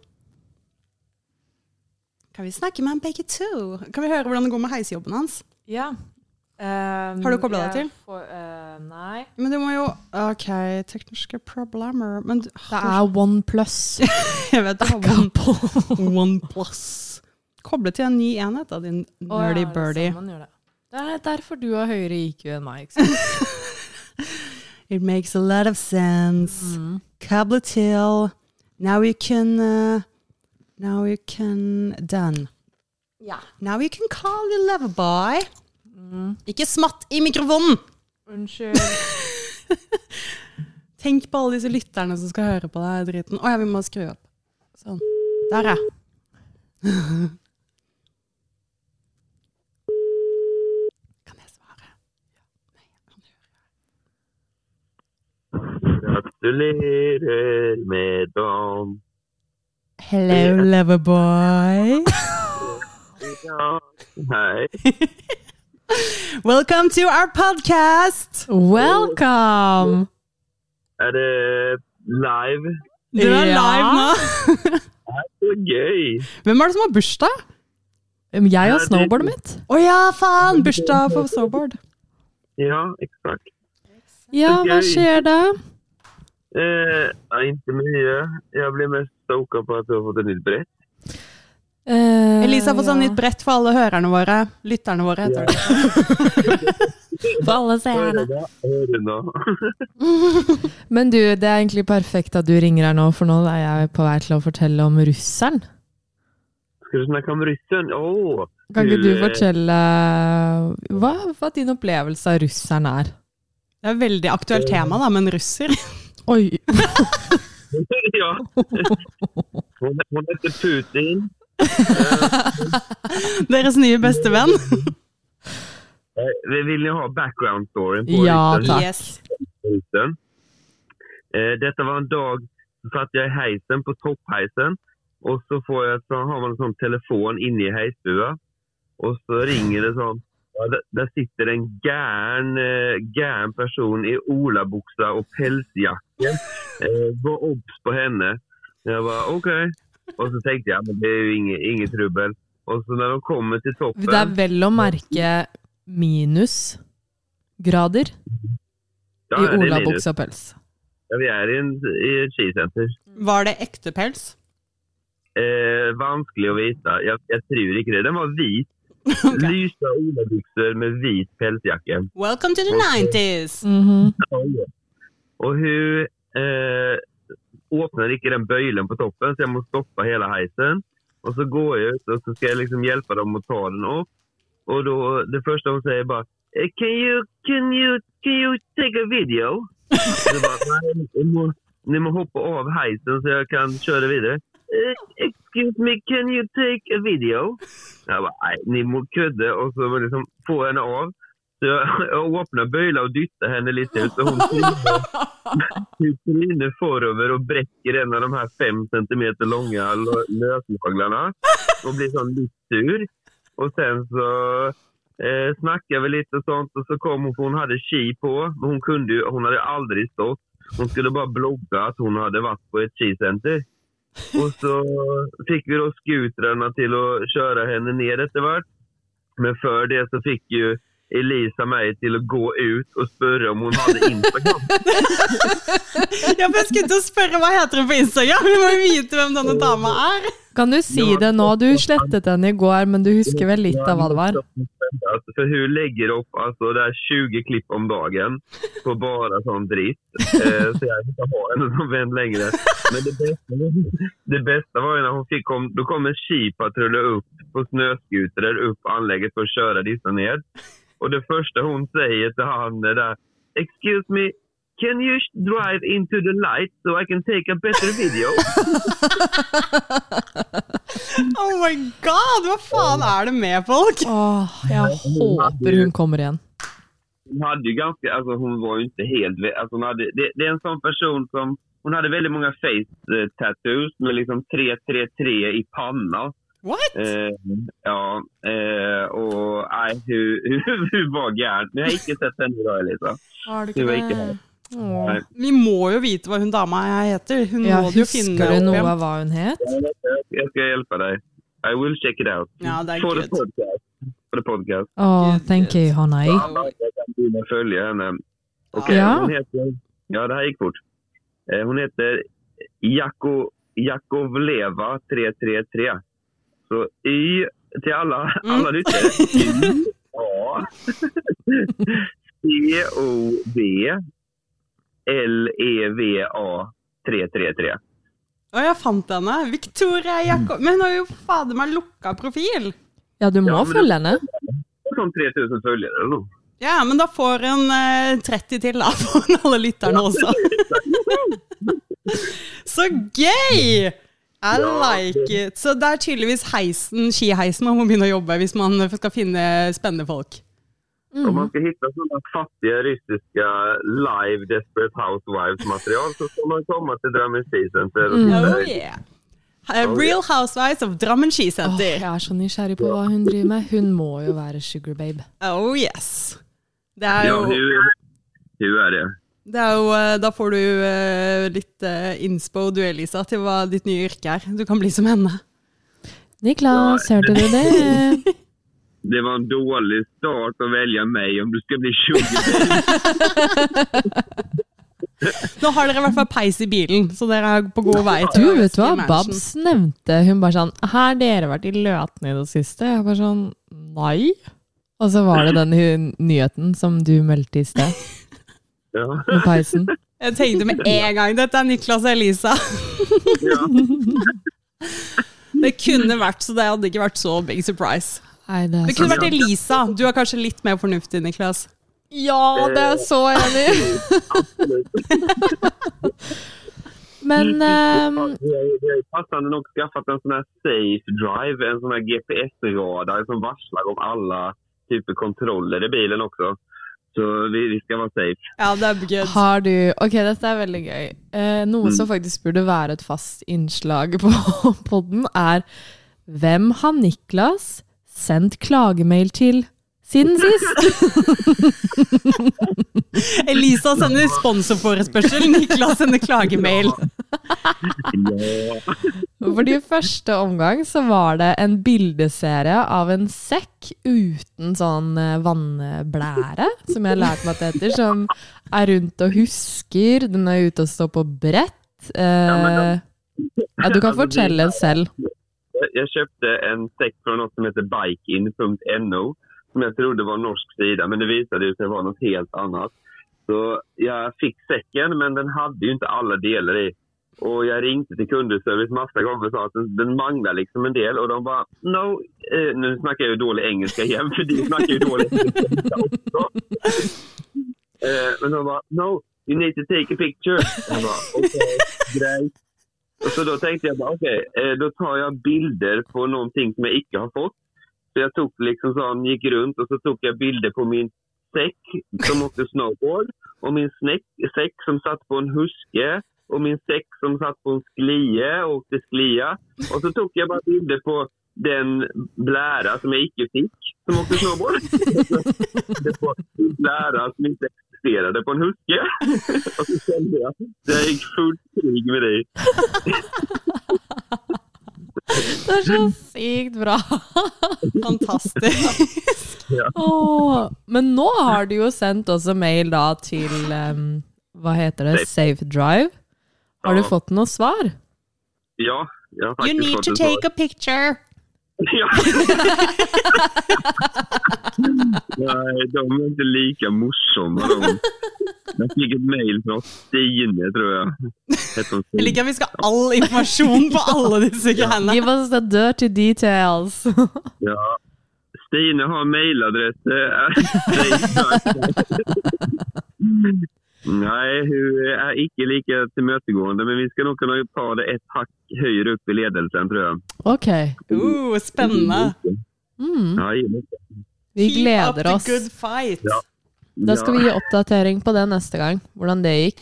[SPEAKER 1] Kan vi snakke med han begge to? Kan vi høre hvordan det går med heisjobben hans?
[SPEAKER 2] Ja. Ehm,
[SPEAKER 1] Har du koblet deg
[SPEAKER 2] jeg
[SPEAKER 1] til?
[SPEAKER 2] får- eh, nei.
[SPEAKER 1] Men du må jo Ok, tekniske problemer Men du,
[SPEAKER 2] Det er One Plus.
[SPEAKER 1] jeg vet du har one, plus. Koble til en ny enhet, da, din nerdy birdie.
[SPEAKER 2] Det er derfor du har høyere IQ enn meg. Ikke sant?
[SPEAKER 1] It makes a lot of sense. Cable till. Now you can uh, Now you can Done.
[SPEAKER 2] ja.
[SPEAKER 1] Now you can call your lover boy. Ikke smatt i mikrofonen!
[SPEAKER 2] Unnskyld.
[SPEAKER 1] Tenk på alle disse lytterne som skal høre på deg driten. Å ja, vi må skru opp. Sånn. Der, ja. kan jeg svare? Nei, han hører.
[SPEAKER 3] Gratulerer med dagen.
[SPEAKER 1] Hello, loverboy.
[SPEAKER 3] Ja, hei.
[SPEAKER 1] Welcome to our podcast.
[SPEAKER 2] Welcome!
[SPEAKER 3] Er det live?
[SPEAKER 1] Du er
[SPEAKER 2] Ja.
[SPEAKER 1] live nå.
[SPEAKER 3] Så gøy!
[SPEAKER 1] Hvem er det som har bursdag?
[SPEAKER 2] Um, Jeg og
[SPEAKER 3] Ja, det-
[SPEAKER 2] snowboardet mitt.
[SPEAKER 1] Å ja, faen! Bursdag for snowboard.
[SPEAKER 3] Ja, eksakt.
[SPEAKER 2] Ja, hva
[SPEAKER 3] gøy.
[SPEAKER 2] skjer da?
[SPEAKER 3] Eh, nei, ikke mye. Jeg blir mest stoka på at du har fått et nytt brett.
[SPEAKER 2] Eh,
[SPEAKER 1] Elisa har fått sånn
[SPEAKER 2] ja.
[SPEAKER 1] nytt brett for alle hørerne våre. Lytterne våre, heter det.
[SPEAKER 2] For alle
[SPEAKER 3] Hør
[SPEAKER 2] seerne.
[SPEAKER 3] da, hør nå.
[SPEAKER 2] Men du, det er egentlig perfekt at du ringer her nå, for nå er jeg på vei til å fortelle om russeren.
[SPEAKER 3] Skal du snakke om russen? Åh!
[SPEAKER 2] Kan ikke du
[SPEAKER 3] Til, eh,
[SPEAKER 2] fortelle eh, hva, hva din opplevelse av russeren er?
[SPEAKER 1] Det er et veldig aktuelt tema, da, men russer.
[SPEAKER 2] Oi!
[SPEAKER 3] ja. Hun, hun heter Putin.
[SPEAKER 1] Deres nye bestevenn.
[SPEAKER 3] Eh, Vill ni ha background-storyn på
[SPEAKER 2] Ja,
[SPEAKER 3] Richter-
[SPEAKER 2] Takk.
[SPEAKER 1] Yes.
[SPEAKER 3] Hilsen. Eh, dette var en dag så satt jeg i heisen, på toppheisen. Og så, får jeg, så har man en sånn telefon inne i heisstua, og så ringer det sånn. Ja, der, der sitter en gæren, eh, gæren person i olabuksa og pelsjakke. Eh, Var obs på henne. Jeg bare OK. Og så tenkte jeg men det er jo ingen, ingen trøbbel. Og så når de kommer til toppen
[SPEAKER 2] Det er vel å merke minusgrader
[SPEAKER 3] Ja,
[SPEAKER 2] i
[SPEAKER 3] ja, det er Linus.
[SPEAKER 2] olabukse og pels.
[SPEAKER 3] Ja, vi er i, en, i et skisenter.
[SPEAKER 1] Var det ekte pels?
[SPEAKER 3] Eh, vanskelig å vite. Jeg, jeg tror ikke det. Den var hvit. Lysa olabukser med hvit pelsjakke.
[SPEAKER 1] Welcome to the 90s!
[SPEAKER 2] Mhm.
[SPEAKER 3] Og hun eh, åpner ikke den bøylen på toppen, så jeg må stoppe hele heisen. Og så går jeg ut, og så skal jeg liksom hjelpe dem å ta den opp. Og da, det første hun sier bare eh, can you, can, you, can you take a video? Så jeg bare, Nei, jeg må, ni må hoppe av heisen så jeg kan kjøre videre. Eh, Excuse me, can you take a video? Jeg bare, nei, ni må kødde. Og så må jeg liksom få henne av. Så jeg, jeg åpner bøyla og dytter henne litt ut. Så hun tryner- hun tryner forover og brekker en av de her fem centimeter lange lø- løsnaglene. Og blir sånn litt sur. Og sen så eh, snakker vi litt og sånt, og så kom hun, for hun hadde ski på. Men hun kunde ju, hun hadde aldri stått. Hun skulle bare blogge at hun hadde vært på et skisenter. Og så fikk vi da scooterne til å kjøre henne ned etter hvert. Men før det så fikk jo Elisa meg til å gå ut og spørre om hun hadde Instagram.
[SPEAKER 1] Ja, for jeg skulle til å spørre hva heter hun på Instagram? Vi må jo vite hvem denne dama er.
[SPEAKER 2] Kan du si det nå? Du slettet den i går, men du husker vel litt av hva det var?
[SPEAKER 3] Alltså, för hon lägger upp alltså, det är 20 klipp om dagen på bara sån dritt. Eh, så jag vill inte ha henne som vän längre. Men det bästa, det bästa var ju när hon fick, kom, då kom en skipatrull upp på snöskutrar upp anlägget för att köra dessa ned. Och det första hon säger till han är där, excuse me, can you drive into the light so I can take a better video?
[SPEAKER 1] Oh my god, hva faen er det med folk?
[SPEAKER 2] Åh, jeg håper hun kommer igjen.
[SPEAKER 3] hon hade ju ganska, alltså hon var ju inte helt, vä- alltså hon hade, det, det är en sån person som, hon hade väldigt många face eh, tattoos med liksom 333 i panna.
[SPEAKER 1] What?
[SPEAKER 3] Eh, ja, eh, och nej, hur, hur, hur var gärnt. Men jag har inte sett henne idag Elisa.
[SPEAKER 2] Har du
[SPEAKER 3] ikke det? Det var ikke
[SPEAKER 2] Åh.
[SPEAKER 1] Vi må jo vite hva hun dama heter. Hun
[SPEAKER 2] Ja,
[SPEAKER 1] må du jo finne
[SPEAKER 2] husker du
[SPEAKER 1] opp
[SPEAKER 2] noe
[SPEAKER 1] igjen.
[SPEAKER 2] av hva hun het?
[SPEAKER 3] Jag ska hjälpa dig. I will check it out.
[SPEAKER 1] Ja, det er
[SPEAKER 3] For the
[SPEAKER 1] good.
[SPEAKER 3] podcast. For the podcast.
[SPEAKER 2] Åh, thank you, Hanai.
[SPEAKER 3] Alla kan börja följa henne. Okej,
[SPEAKER 2] Ja.
[SPEAKER 3] hon heter, ja det här gick fort. Eh, hon heter Jako, Jakovleva 333. Så Y till alla, alla lyssnare. Y, A, C, O, B, L, E, V, A 333.
[SPEAKER 1] Å, jeg fant henne. Victoria Jakob... Men hun har jo fader meg lukka profil!
[SPEAKER 2] Ja, du må
[SPEAKER 3] Ja, men-
[SPEAKER 2] følge henne.
[SPEAKER 3] Som 3000 följare eller nåt.
[SPEAKER 1] Ja, men da får hun eh, 30 til, da, for alle lytterne også. Så gøy! I like it. Så det er tydeligvis heisen, skiheisen man må begynne å jobbe hvis man skal finne spennende folk.
[SPEAKER 3] Om man ska hitta sådana fattiga ryssiska live Desperate Housewives-material så ska man komma till Drömmen Season. Mm.
[SPEAKER 1] Oh yeah. Eh, Real Housewives of Drammen
[SPEAKER 2] Åh,
[SPEAKER 1] skisenter.
[SPEAKER 2] jeg er så nysgjerrig på hva hun driver med. Hun må jo være sugar babe.
[SPEAKER 1] Oh yes. Det er
[SPEAKER 3] Ja,
[SPEAKER 1] jo,
[SPEAKER 3] hur, hur är det?
[SPEAKER 1] det er jo eh, Da får du eh, litt eh, inspo du, Elisa, til hva ditt nye yrke er. Du kan bli som henne.
[SPEAKER 2] Niklas, hørte du det?
[SPEAKER 3] Det var en dålig start att välja mig om du ska bli sugar.
[SPEAKER 1] Nå har dere i hvert fall peis i bilen, så dere er på god vei.
[SPEAKER 2] Du,
[SPEAKER 1] til å
[SPEAKER 2] vet du
[SPEAKER 1] ønske
[SPEAKER 2] hva?
[SPEAKER 1] matchen.
[SPEAKER 2] Babs nevnte Hun bare sånn Har dere vært i Løten i det siste? Jeg bare sånn Nei. Og så var det den hun- nyheten som du meldte i sted,
[SPEAKER 3] ja.
[SPEAKER 2] med peisen.
[SPEAKER 1] Jeg tenkte med en gang dette er Niklas og Elisa. det kunne vært, så det hadde ikke vært så big surprise.
[SPEAKER 2] Nei, det er
[SPEAKER 1] Det
[SPEAKER 2] så
[SPEAKER 1] kunne vært Elisa. Du er kanskje litt mer fornuftig, Niklas.
[SPEAKER 2] Ja, det er så enig Men ehm,
[SPEAKER 3] Vi har- vi har ju passande nog skaffat en sån här safe drive, en sån här GPS-radar som varslar om alla typ kontroller i bilen också. Så vi, vi ska vara safe.
[SPEAKER 1] Ja, det er good.
[SPEAKER 2] Har du Ok, dette er veldig gøy. Eh, noe
[SPEAKER 3] Mm.
[SPEAKER 2] som faktisk burde være et fast innslag på podden, er Hvem har Niklas sendt klagemail til siden sist?
[SPEAKER 1] Elisa sender sponsorforespørsel, Niklas sender klagemail.
[SPEAKER 3] Ja.
[SPEAKER 2] Fordi i første omgang så var det en bildeserie av en sekk uten sånn eh, vannblære, som jeg har lært meg at det heter, som er rundt og husker. Den er ute og står på brett. Eh,
[SPEAKER 3] men
[SPEAKER 2] ja, du kan
[SPEAKER 3] Altså, de-
[SPEAKER 2] fortelle selv.
[SPEAKER 3] Jag köpte en säck från något som heter bikein.no som jag trodde var norsk sida, men det visade ju sig vara något helt annat. Så jag fick säcken, men den hade ju inte alla delar i. Och jag ringde till kundservice massa gånger och sa att den, den manglar liksom en del. Och de bara, no, eh, nu snackar jag ju dålig engelska igen, för de snackar ju dålig engelska också. Eh, men de bara, no, you need to take a picture. Jag bara, okej, grejt. Och Så då tänkte jag bara, okej, eh, då tar jag bilder på någonting som jag icke har fått. Så jag tog liksom sån, gick runt och så tog jag bilder på min säck som åkte snowboard och min snäck, säck som satt på en huske och min säck som satt på en sklie och åkte sklia. Och så tog jag bara bilder på den blära som jag icke fick som åkte snowboard. Det var en blära som inte existerade på en huske. Och så kände jag, det gick fullt krig med dig.
[SPEAKER 2] Det er så sykt bra.
[SPEAKER 1] Fantastisk.
[SPEAKER 2] Åh, men nå har du jo sendt også mail da til em, Hva heter det? Safe Drive. Har du
[SPEAKER 3] Ja.
[SPEAKER 2] fått noe svar?
[SPEAKER 3] Ja, jag har
[SPEAKER 1] You
[SPEAKER 3] faktiskt
[SPEAKER 1] need
[SPEAKER 3] fått
[SPEAKER 1] to
[SPEAKER 3] en
[SPEAKER 1] take a picture.
[SPEAKER 3] Ja. Nej, de är inte lika morsamma de. Jag fick ett mejl från Stine tror jeg. Hette hon
[SPEAKER 1] Jeg
[SPEAKER 3] Stine?
[SPEAKER 1] liker at vi skal ha all informasjon på alle disse greiene.
[SPEAKER 2] Give us the dirty details.
[SPEAKER 3] Ja. Stine har mejladress. Nej, hun er ikke like tillmötegående, men vi skal nok kunne ta det et hakk høyere opp i ledelsen, tror jeg.
[SPEAKER 2] Ok.
[SPEAKER 1] Uh, spennende.
[SPEAKER 2] Mm.
[SPEAKER 3] Ja, jeg-
[SPEAKER 2] Vi gleder
[SPEAKER 1] Keep up
[SPEAKER 2] oss.
[SPEAKER 1] the good fight.
[SPEAKER 3] Ja.
[SPEAKER 2] Da skal vi
[SPEAKER 3] ja,
[SPEAKER 2] gi oppdatering på det neste gang, hvordan det gikk.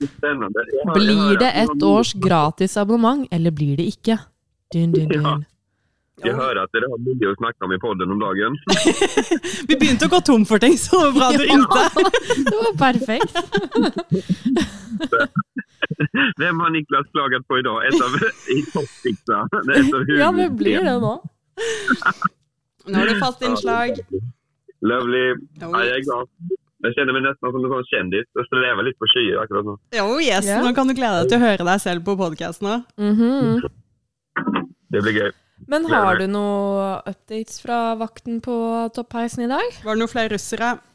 [SPEAKER 3] Spennende. Jeg har- jeg har-
[SPEAKER 2] Blir det ett års gratis abonnement, eller blir det ikke? Dun, dun, dun.
[SPEAKER 3] Jeg hører at dere har mye å snakke om i podden om dagen.
[SPEAKER 1] Vi begynte å gå tom for ting, så det var bra du ringte.
[SPEAKER 2] Det var perfekt.
[SPEAKER 3] Hvem har Niklas klaget på i dag? Et av i toppfiksa? Det er et av
[SPEAKER 2] Ja, det blir det nå.
[SPEAKER 1] Nå er det fast innslag.
[SPEAKER 3] Lovely.
[SPEAKER 1] Oh,
[SPEAKER 3] Ja, jeg er glad. Jeg kjenner meg nesten som en sånn kjendis. Jeg strever litt på skyer akkurat nå.
[SPEAKER 1] Oh yes,
[SPEAKER 2] Ja.
[SPEAKER 1] Nå kan du glede deg til å høre deg selv på podkasten òg.
[SPEAKER 2] Mhm.
[SPEAKER 3] Det blir gøy.
[SPEAKER 2] Men har du noe updates fra vakten på toppheisen i dag?
[SPEAKER 1] Var det noen flere russere?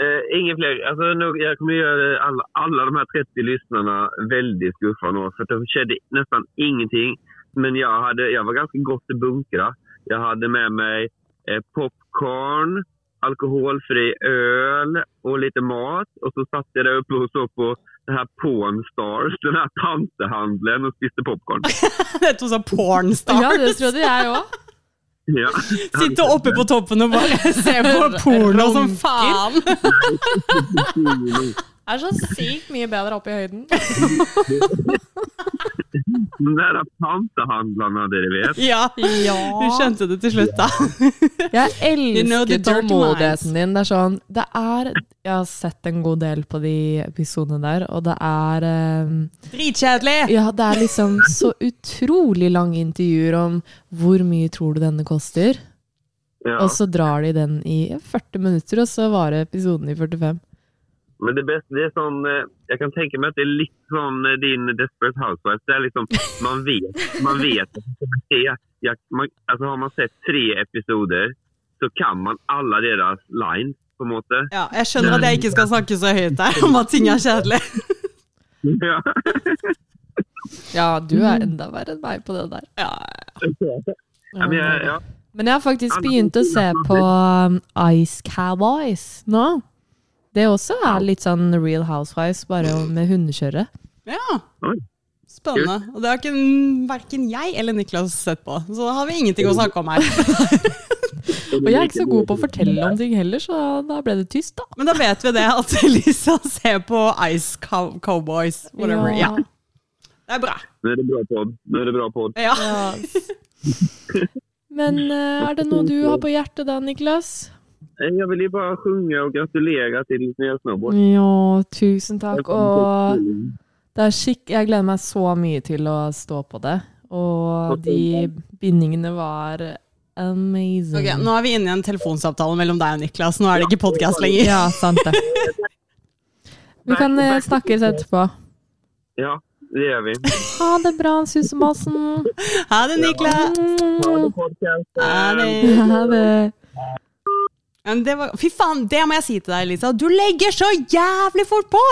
[SPEAKER 3] Eh, ingen flere. Altså, nå, jeg kommer til å gjøre alle, alle de her 30 lytterne veldig skuffa nå. For det skjedde nesten ingenting. Men jeg, hadde, jeg var ganske godt til bunkra. Jeg hadde med meg eh, popkorn, alkoholfri øl og litt mat. Og så satt jeg der oppe og så på den her Pawn Stars, den her tantehandelen, og spiste popkorn.
[SPEAKER 1] Det heter sånn pornstar.
[SPEAKER 2] Ja, det trodde jeg òg.
[SPEAKER 3] Ja.
[SPEAKER 1] Sitte oppe på toppen og bare se på porno som faen.
[SPEAKER 2] Det er så sykt mye bedre oppe i høyden.
[SPEAKER 3] De der tantehandlerne, dere vet.
[SPEAKER 1] Ja, du
[SPEAKER 2] Ja.
[SPEAKER 1] skjønte det til slutt, da.
[SPEAKER 2] Jeg elsker
[SPEAKER 1] You know the dirty
[SPEAKER 2] tålmodigheten din. Det er sånn det er, Jeg har sett en god del på de episodene der, og det er eh,
[SPEAKER 1] Dritkjedelig!
[SPEAKER 2] Ja, det er liksom så utrolig lange intervjuer om hvor mye tror du denne koster,
[SPEAKER 3] Ja.
[SPEAKER 2] og så drar de den i 40 minutter, og så varer episoden i 45.
[SPEAKER 3] Men det beste det er sånn eh, Jeg kan tenke meg at det er litt sånn eh, din Desperate Housewives. Det er liksom Man vet, man vet at det kommer tre. Jeg, man, altså Har man sett tre episoder, så kan man alle deres lines, på en måte.
[SPEAKER 1] Ja, jeg skjønner at jeg ikke skal snakke så høyt der om at ting er kjedelig.
[SPEAKER 3] Ja.
[SPEAKER 2] Ja, du er enda verre enn meg på det der.
[SPEAKER 1] Ja,
[SPEAKER 3] Ja, men jeg, ja.
[SPEAKER 2] Men jeg har faktisk begynt å se på um, Ice Cowboys nå. Det også er litt sånn Real Housewives, bare med hundekjørere.
[SPEAKER 1] ja.
[SPEAKER 3] Oi.
[SPEAKER 1] Spennende. Og det Oh. har ikke verken jeg eller Niklas sett på, så da har vi ingenting å snakke om her.
[SPEAKER 2] Og jeg er ikke så god på å fortelle om ting heller, så da ble det tyst, da.
[SPEAKER 1] Men da vet vi det, at Lisa ser på Ice Cow- Cowboys, whatever. Ja. Det er bra.
[SPEAKER 3] Nå er det bra pod. Nå er det bra pod.
[SPEAKER 1] Ja.
[SPEAKER 2] Ja. Men eh, er det noe du har på hjertet da, Niklas?
[SPEAKER 3] Eh, Jeg vil ju bara sjunga och gratulera till Nya Snowboard.
[SPEAKER 2] Ja, tusen takk. Og det er skikk... Jeg gleder meg så mye til å stå på det. Og de bindingene var amazing.
[SPEAKER 1] Ok, nå er vi inne i en telefonsamtale mellom deg og Niklas. Nå er det ikke podkast lenger.
[SPEAKER 2] Ja, sant det. Vi kan eh, snakkes etterpå.
[SPEAKER 3] Ja, det gör vi.
[SPEAKER 2] Ha det bra, susemassen.
[SPEAKER 1] Ha det, Niklas.
[SPEAKER 3] Ha
[SPEAKER 2] Mm.
[SPEAKER 3] det podcast.
[SPEAKER 1] Ha det.
[SPEAKER 2] Ha det.
[SPEAKER 1] Men det var, fy faen, det må jeg si til deg, Lisa. Du legger så jævlig fort på!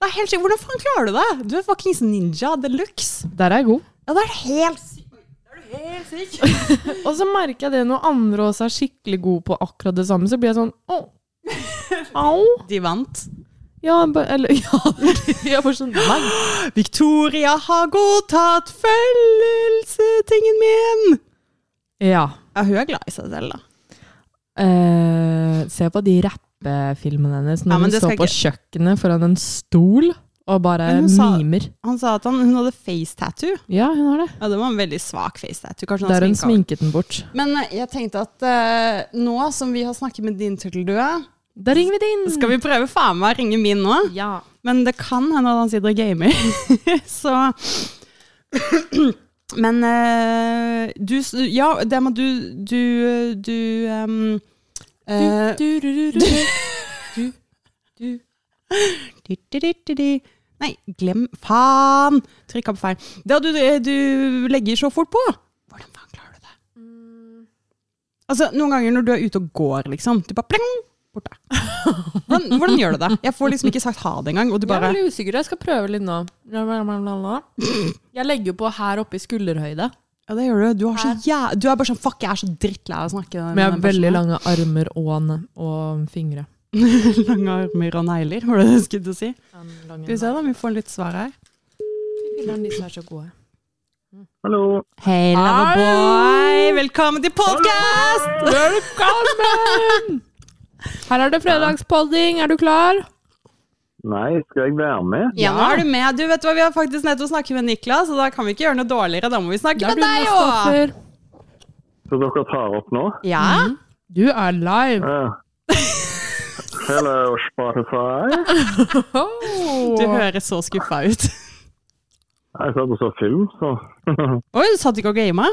[SPEAKER 1] Det er helt sykt. Hvordan faen klarer du det? Du er fuckings ninja de luxe.
[SPEAKER 2] Der er jeg god.
[SPEAKER 1] Ja, det er helt sykt. Det er du helt syk.
[SPEAKER 2] Og så merker jeg det når andre også er skikkelig gode på akkurat det samme, så blir jeg sånn åh. Au.
[SPEAKER 1] De vant.
[SPEAKER 2] Ja, ba- eller ja. Jeg får sånn nei.
[SPEAKER 1] Victoria har godtatt følelsetingen min!
[SPEAKER 2] Ja.
[SPEAKER 1] Ja, hun er glad i seg selv, da.
[SPEAKER 2] Eh, se på de rappefilmene hennes
[SPEAKER 1] Ja,
[SPEAKER 2] når
[SPEAKER 1] men
[SPEAKER 2] hun
[SPEAKER 1] det
[SPEAKER 2] står
[SPEAKER 1] skal
[SPEAKER 2] på kjøkkenet foran en stol og bare
[SPEAKER 1] Men hun sa-
[SPEAKER 2] mimer.
[SPEAKER 1] Han sa at han, hun hadde face tattoo.
[SPEAKER 2] Ja, hun har det.
[SPEAKER 1] Ja, det var en veldig svak face tattoo. Kanskje hun
[SPEAKER 2] Der
[SPEAKER 1] har
[SPEAKER 2] hun
[SPEAKER 1] sminka over.
[SPEAKER 2] sminket den bort.
[SPEAKER 1] Men eh, jeg tenkte at eh, nå som vi har snakket med din turteldue,
[SPEAKER 2] Da ringer vi det inn!
[SPEAKER 1] skal vi prøve faen meg å ringe min nå.
[SPEAKER 2] Ja.
[SPEAKER 1] Men det kan hende at han sitter og gamer. Så Men eh, du s- Ja, det med du Du, du em, eh,
[SPEAKER 2] Du, du, du, du, du. Du,
[SPEAKER 1] du,
[SPEAKER 2] du.
[SPEAKER 1] du, du, du, du. Nei, glem Faen! Trykka på feil. Det at du, eh, du legger så fort på. Hvordan faen klarer du det?
[SPEAKER 2] Mm.
[SPEAKER 1] Altså, Noen ganger når du er ute og går, liksom. Du bare pling! Borte. Hvordan, hvordan gjør du det? Jeg får liksom ikke sagt ha det engang. Og du bare
[SPEAKER 2] Jeg er veldig usikker. Jeg skal prøve litt nå. Jeg legger jo på her oppe i skulderhøyde.
[SPEAKER 1] Ja, det gjør du. Du, har så jæ- du er bare sånn Fuck, jeg er så drittlei av å snakke med
[SPEAKER 2] Men jeg har
[SPEAKER 1] den
[SPEAKER 2] veldig
[SPEAKER 1] personen.
[SPEAKER 2] lange armer og, ne- og fingre.
[SPEAKER 1] Lange armer og negler, var det det jeg skulle til å si. Skal vi se da, om vi får litt svar her.
[SPEAKER 3] Hallå!
[SPEAKER 1] Hei,
[SPEAKER 2] Loverboy!
[SPEAKER 1] Velkommen til podkast!
[SPEAKER 2] Velkommen! Her er det fredagspodding. Er du klar?
[SPEAKER 3] Nej, ska jag vara med?
[SPEAKER 1] Ja, nå er du med. Du vet hva, Vi har faktisk nettopp snakket med Niklas, og da kan vi ikke gjøre noe dårligere. Da må vi snakke med deg òg!
[SPEAKER 2] Kristoffer.
[SPEAKER 3] Så dere tar opp nå?
[SPEAKER 1] Ja?
[SPEAKER 2] Du er live.
[SPEAKER 3] Ja. Hello, Spotify.
[SPEAKER 1] Du høres så skuffa ut.
[SPEAKER 3] Jeg satt og så film, så
[SPEAKER 1] Oi, du satt ikke og gama?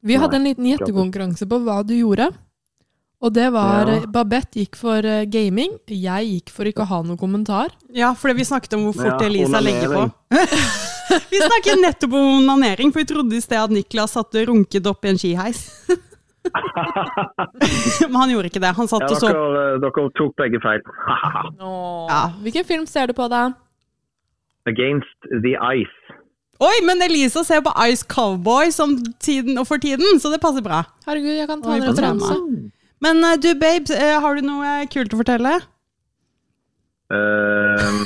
[SPEAKER 2] Vi hadde en liten gjettekonkurranse på hva du gjorde. Og det var eh,
[SPEAKER 3] Ja.
[SPEAKER 2] Babette gikk for eh, gaming. Jeg gikk for ikke å ha noen kommentar.
[SPEAKER 1] Ja, fordi vi snakket om hvor fort
[SPEAKER 3] Ja,
[SPEAKER 1] Elisa legger på.
[SPEAKER 3] onanering.
[SPEAKER 1] Vi snakket nettopp om onanering, for vi trodde i sted at Niklas satt og runket opp i en skiheis. Men han gjorde ikke det. Han satt
[SPEAKER 3] Ja,
[SPEAKER 1] og så på.
[SPEAKER 3] dere, eh, dere tok begge feil.
[SPEAKER 1] Ja.
[SPEAKER 2] Hvilken film ser du på, da?
[SPEAKER 3] Against the Ice.
[SPEAKER 1] Oi, men Elisa ser på Ice Cowboy som tiden, og for tiden, så det passer bra.
[SPEAKER 2] Herregud, jeg kan ta
[SPEAKER 1] Oi,
[SPEAKER 2] en
[SPEAKER 1] for
[SPEAKER 2] referanse.
[SPEAKER 1] Men eh, du, babe, eh, har du noe eh, kult å fortelle?
[SPEAKER 3] Eh,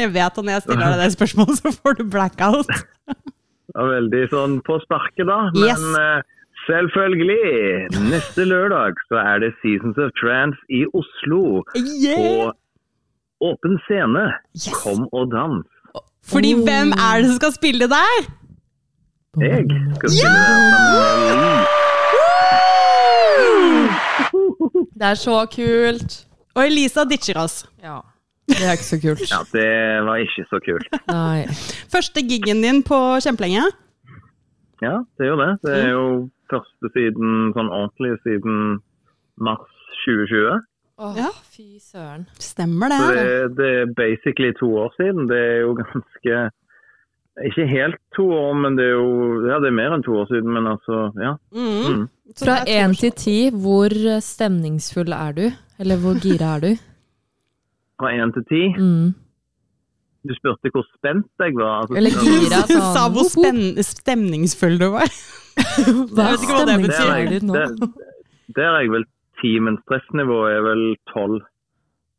[SPEAKER 1] Jeg vet at når jeg stiller deg det spørsmålet, så får du blackout.
[SPEAKER 3] Det var veldig sånn på sparket, da. Men
[SPEAKER 1] Yes.
[SPEAKER 3] eh, selvfølgelig! Neste lørdag så er det Seasons of Trance i Oslo.
[SPEAKER 1] Yeah!
[SPEAKER 3] På åpen scene.
[SPEAKER 1] Yes.
[SPEAKER 3] Kom og dans.
[SPEAKER 1] Fordi hvem er det som skal spille der?
[SPEAKER 3] Jeg skal spille der sammen med Lee.
[SPEAKER 2] Det er så kult.
[SPEAKER 1] Og Elisa ditcher oss.
[SPEAKER 2] Ja. Det er ikke så kult.
[SPEAKER 3] Ja, det var ikke så kult.
[SPEAKER 2] Nei.
[SPEAKER 1] Første giggen din på kjempelenge.
[SPEAKER 3] Ja, det er jo det. Det er jo første siden, sånn ordentlig siden mars 2020.
[SPEAKER 2] Åh,
[SPEAKER 1] Ja.
[SPEAKER 2] fy søren.
[SPEAKER 1] Stemmer
[SPEAKER 3] Så
[SPEAKER 1] det.
[SPEAKER 3] det, det er basically to år siden. Det er jo ganske Ikke helt to år, men det er jo Ja, det er mer enn to år siden, men altså Ja.
[SPEAKER 1] Mm.
[SPEAKER 3] Mm.
[SPEAKER 1] Så
[SPEAKER 2] Fra
[SPEAKER 1] det er
[SPEAKER 2] én til ti, hvor eh, stemningsfull er du? Eller hvor gira er du?
[SPEAKER 3] Fra én til ti.
[SPEAKER 2] Mm.
[SPEAKER 3] Du spurte hvor spent jeg var. Altså,
[SPEAKER 2] Eller
[SPEAKER 3] ja,
[SPEAKER 1] to-
[SPEAKER 2] gira
[SPEAKER 1] Du
[SPEAKER 2] sånn.
[SPEAKER 1] sa hvor spenn- stemningsfull du var.
[SPEAKER 2] Hva
[SPEAKER 1] Jeg vet ikke hva det
[SPEAKER 3] der, er
[SPEAKER 2] stemningsfull
[SPEAKER 3] jeg,
[SPEAKER 2] er du nå?
[SPEAKER 3] der, der er jeg vel ti, men stressnivået er vel tolv.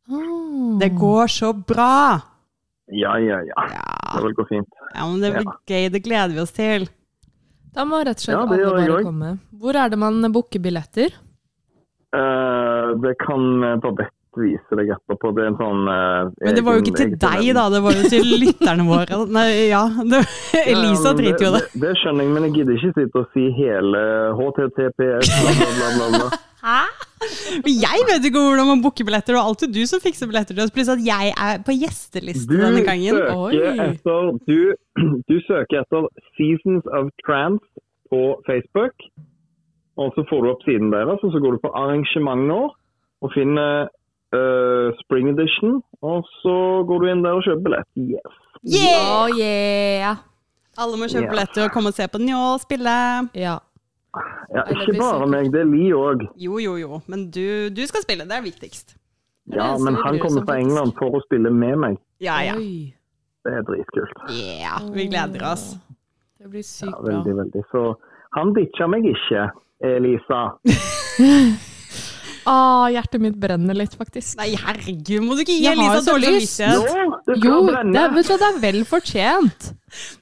[SPEAKER 2] Åh.
[SPEAKER 1] Det går så bra!
[SPEAKER 3] Ja, ja, ja.
[SPEAKER 1] Ja,
[SPEAKER 3] Det vil gå fint.
[SPEAKER 1] ja men det blir gøy. Det gleder vi oss til.
[SPEAKER 2] Da må rett og slett
[SPEAKER 3] Ja, det
[SPEAKER 2] alle
[SPEAKER 3] gjør jeg
[SPEAKER 2] bare
[SPEAKER 3] også.
[SPEAKER 2] komme. Hvor er det man booker billetter?
[SPEAKER 3] Eh, det kan eh, Babette vise deg etterpå. Det er en sånn eh,
[SPEAKER 1] Men det var jo
[SPEAKER 3] egen-
[SPEAKER 1] ikke til
[SPEAKER 3] eget
[SPEAKER 1] deg,
[SPEAKER 3] event.
[SPEAKER 1] da. Det var jo til lytterne våre. Nei, ja. Det, Elisa
[SPEAKER 3] Ja, men
[SPEAKER 1] driter jo i det.
[SPEAKER 3] Det skjønner jeg, men jeg gidder ikke sitte og si hele HTTPS, bla, bla, bla. bla, bla.
[SPEAKER 1] Men jeg vet ikke hvordan man booker billetter. Det var alltid du som fikser billetter til oss. Pluss at jeg er på gjesteliste
[SPEAKER 3] Du
[SPEAKER 1] denne gangen.
[SPEAKER 3] søker,
[SPEAKER 2] Oi.
[SPEAKER 3] etter, du, du søker etter Seasons of Trance på Facebook. Og så får du opp siden deres, og så går du på arrangementer og finner eh, Spring Edition. Og så går du inn der og kjøper billett. Yes.
[SPEAKER 1] Yeah!
[SPEAKER 4] Oh, yeah.
[SPEAKER 1] Alle må kjøpe
[SPEAKER 3] Ja.
[SPEAKER 1] billetter og komme og se på Njål spille.
[SPEAKER 2] Ja.
[SPEAKER 4] Nei,
[SPEAKER 3] Ja,
[SPEAKER 4] det
[SPEAKER 3] ikke
[SPEAKER 4] blir
[SPEAKER 3] bare
[SPEAKER 4] sikkert.
[SPEAKER 3] meg, det er Li òg.
[SPEAKER 1] Jo, jo, jo. Men du, du skal spille. Det er viktigst.
[SPEAKER 4] Det er
[SPEAKER 3] Ja,
[SPEAKER 4] det eneste
[SPEAKER 3] men
[SPEAKER 4] vi
[SPEAKER 3] han
[SPEAKER 4] bryr oss
[SPEAKER 3] kommer
[SPEAKER 4] om,
[SPEAKER 3] fra
[SPEAKER 4] faktisk.
[SPEAKER 3] England for å spille med meg.
[SPEAKER 1] Ja, ja.
[SPEAKER 2] Oi.
[SPEAKER 3] Det er dritkult.
[SPEAKER 1] Yeah, vi gleder oss.
[SPEAKER 4] Det blir
[SPEAKER 3] Ja,
[SPEAKER 4] sykt bra.
[SPEAKER 3] veldig, veldig. Så han ditcha meg ikke, Elisa.
[SPEAKER 2] Ah, hjertet mitt brenner litt, faktisk.
[SPEAKER 1] Nei, herregud, må du ikke gi
[SPEAKER 2] Jeg har
[SPEAKER 1] Elisa
[SPEAKER 2] så
[SPEAKER 1] dårlig
[SPEAKER 2] lyst.
[SPEAKER 1] samvittighet?
[SPEAKER 3] det
[SPEAKER 2] Jo, det, er- vet du, hva, det er vel fortjent.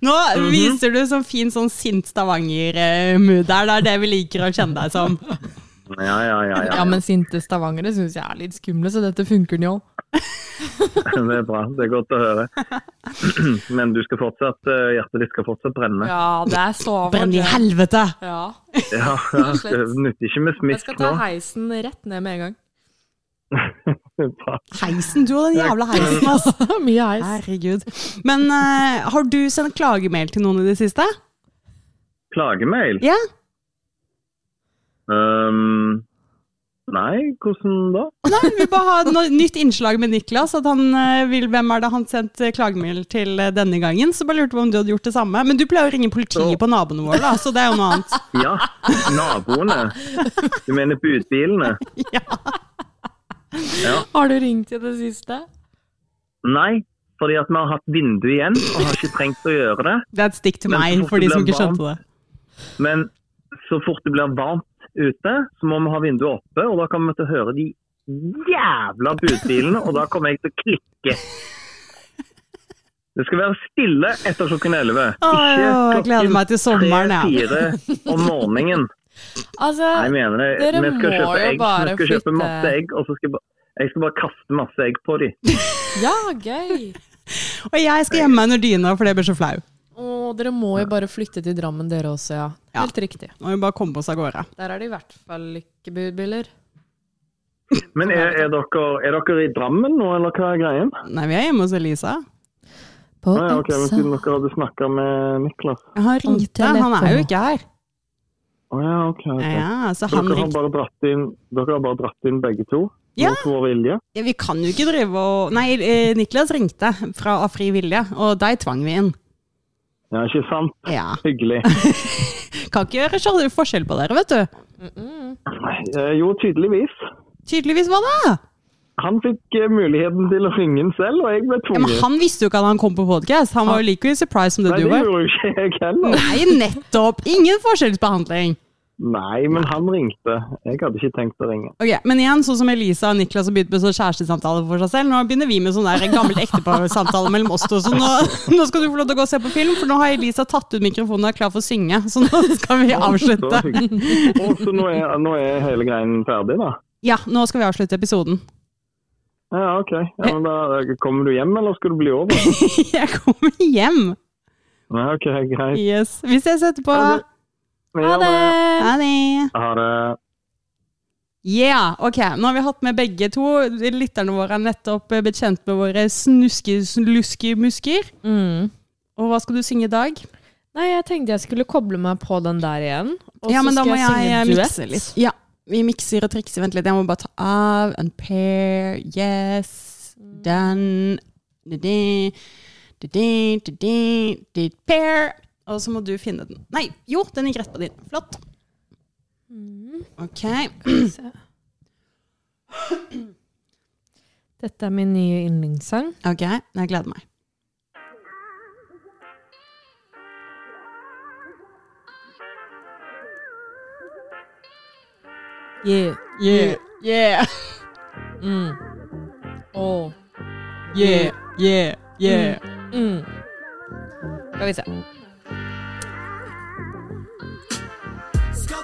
[SPEAKER 1] Nå
[SPEAKER 3] Mhm.
[SPEAKER 1] viser du sånn fin sånn sint Stavanger-mood der. Det er det vi liker å kjenne deg som.
[SPEAKER 3] Ja, ja, ja. ja.
[SPEAKER 2] Ja, men sinte stavangere syns jeg er litt skumle, så dette funker jo.
[SPEAKER 3] Det er bra. Det er godt å høre. Men du skal fortsatt, eh, hjertet ditt skal fortsatt brenne.
[SPEAKER 2] Ja, det er så
[SPEAKER 1] Brenn i helvete!
[SPEAKER 2] Ja.
[SPEAKER 3] Ja, ja. Det nytter ikke med
[SPEAKER 2] Jeg
[SPEAKER 3] smisk
[SPEAKER 2] skal
[SPEAKER 3] nå.
[SPEAKER 2] ta heisen rett ned med en gang.
[SPEAKER 3] Bra.
[SPEAKER 1] Heisen, du og den jævla heisen, altså. ass.
[SPEAKER 2] Mye heis.
[SPEAKER 1] Herregud. Men eh, har du sendt klagemail til noen i det siste?
[SPEAKER 3] Klagemail?
[SPEAKER 1] Ja.
[SPEAKER 3] Um, nei, hvordan da?
[SPEAKER 1] Nei, vi bare har no nytt innslag med Niklas. At han eh, vil, hvem er det han sendte klagemail til eh, denne gangen? Så bare lurte på om du hadde gjort det samme. Men du pleier å ringe politiet på naboene våre, da, så det er jo noe annet.
[SPEAKER 3] Ja, naboene. Du mener budbilene?
[SPEAKER 2] Har du ringt i det siste?
[SPEAKER 3] Nei, fordi at vi har hatt vindu igjen og har ikke trengt å gjøre det.
[SPEAKER 1] Det er et stikk til
[SPEAKER 3] Men
[SPEAKER 1] meg,
[SPEAKER 3] så fort
[SPEAKER 1] for de
[SPEAKER 3] det
[SPEAKER 1] som
[SPEAKER 3] blir
[SPEAKER 1] ikke skjønte det.
[SPEAKER 3] Men så fort det blir varmt ute, så må vi ha vinduet oppe, og da kommer vi til å høre de jævla budbilene, og da kommer jeg til å klikke. Det skal være stille etter klokken 11.
[SPEAKER 1] Å, jeg gleder meg til sommeren, jeg.
[SPEAKER 3] 3-4 om morgenen. Nei, jeg
[SPEAKER 2] Altså,
[SPEAKER 3] mener det.
[SPEAKER 2] Dere
[SPEAKER 3] vi skal
[SPEAKER 2] må
[SPEAKER 3] kjøpe
[SPEAKER 2] jo
[SPEAKER 3] egg.
[SPEAKER 2] bare
[SPEAKER 3] Vi skal kjøpe
[SPEAKER 2] flytte-
[SPEAKER 3] masse egg, og så skal jeg bare, jeg skal bare kaste masse egg på dem.
[SPEAKER 2] ja, gøy.
[SPEAKER 1] Og jeg skal gjemme meg under dyna, for det blir så flau.
[SPEAKER 2] Å, dere må jo bare flytte til Drammen, dere også, ja.
[SPEAKER 1] Ja.
[SPEAKER 2] Helt riktig.
[SPEAKER 1] Nå må vi bare komme oss av gårde.
[SPEAKER 2] Der er det i hvert fall ikke budbiler.
[SPEAKER 3] Men er, er, dere, er dere i Drammen nå, eller hva er greien?
[SPEAKER 1] Nei, vi er hjemme hos Elisa.
[SPEAKER 2] På
[SPEAKER 3] Ah, ja, ok, men siden dere hadde snakka med Niklas.
[SPEAKER 1] Han ringte, han er jo ikke her.
[SPEAKER 3] Å ja, ok. ok.
[SPEAKER 1] Ja, så han
[SPEAKER 3] Dere har,
[SPEAKER 1] ringte.
[SPEAKER 3] bare dratt inn, dere har bare dratt inn begge to?
[SPEAKER 1] Ja.
[SPEAKER 3] Mot vår vilje?
[SPEAKER 1] Ja, vi kan jo ikke drive og Nei, eh, Niklas ringte fra Av fri vilje, og deg tvang vi inn.
[SPEAKER 3] Ja, ikke sant?
[SPEAKER 1] Ja.
[SPEAKER 3] Hyggelig.
[SPEAKER 1] Kan ikke gjøre skjønner du, forskjell på dere, vet du.
[SPEAKER 3] Eh, jo, tydeligvis.
[SPEAKER 1] Tydeligvis var det.
[SPEAKER 3] Han fikk eh, muligheten til å ringe inn selv, og jeg ble
[SPEAKER 1] Ja, men
[SPEAKER 3] tvunget.
[SPEAKER 1] han visste jo ikke at han kom på podcast. Han var jo like surprised som det
[SPEAKER 3] Nei,
[SPEAKER 1] du
[SPEAKER 3] det
[SPEAKER 1] var.
[SPEAKER 3] gjorde jo ikke jeg heller.
[SPEAKER 1] Nei, nettopp! Ingen forskjellsbehandling.
[SPEAKER 3] Nei, men han ringte. Jeg hadde ikke tenkt å ringe.
[SPEAKER 1] Ok, Men igjen, sånn som Elisa og Niklas har begynt med sånn kjærestesamtale for seg selv, nå begynner vi med sånn der gammelt ekteparsamtale mellom oss to. Så nå, nå skal du få lov til å gå og se på film, for nå har Elisa tatt ut mikrofonen og er klar for å synge. Så nå skal vi
[SPEAKER 3] Så
[SPEAKER 1] avslutte.
[SPEAKER 3] hyggelig. Og så nå er, nå er hele greien ferdig, da?
[SPEAKER 1] Ja, nå skal vi avslutte episoden.
[SPEAKER 3] Ja, OK. Ja, men da Kommer du hjem, eller skal du bli over?
[SPEAKER 1] Jeg kommer hjem.
[SPEAKER 3] Ja, OK, greit.
[SPEAKER 1] Yes. Vi ses etterpå.
[SPEAKER 3] Vi gjør det.
[SPEAKER 1] Ha det.
[SPEAKER 3] Ha det.
[SPEAKER 1] Yeah, ok. Nå har vi hatt med begge to. Lytterne våre er nettopp eh, blitt kjent med våre snuske-sluske-musker.
[SPEAKER 2] Mm.
[SPEAKER 1] Og hva skal du synge i dag?
[SPEAKER 2] Nei, jeg tenkte jeg skulle koble meg på den der igjen. Og
[SPEAKER 1] ja,
[SPEAKER 2] så
[SPEAKER 1] men da
[SPEAKER 2] skal
[SPEAKER 1] må jeg,
[SPEAKER 2] synge
[SPEAKER 1] eh,
[SPEAKER 2] duett.
[SPEAKER 1] mikse litt. Ja, vi mikser og trikser. Vent litt, jeg må bare ta av. Unpair, yes, done. Di-di, di-di, di-di, di-pair. Og så må du finne den. Nei, jo, den gikk rett på din. Flott.
[SPEAKER 2] Mm.
[SPEAKER 1] Ok.
[SPEAKER 2] Dette er min nye yndlingssang.
[SPEAKER 1] Ok, jeg gleder meg.
[SPEAKER 2] Yeah.
[SPEAKER 1] Yeah, yeah,
[SPEAKER 2] Mm. Oh.
[SPEAKER 1] yeah, yeah, yeah.
[SPEAKER 2] Mm. Skal vi se. Skal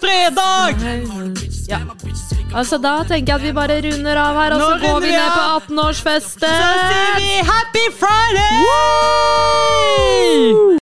[SPEAKER 1] Fredag!
[SPEAKER 2] Ja. Altså, da tenker jeg at vi bare runder av her, og
[SPEAKER 1] Nå
[SPEAKER 2] så går
[SPEAKER 1] runder
[SPEAKER 2] vi
[SPEAKER 1] vi
[SPEAKER 2] ned på
[SPEAKER 1] av. Så
[SPEAKER 2] 18-årsfestet.
[SPEAKER 1] sier vi happy friday!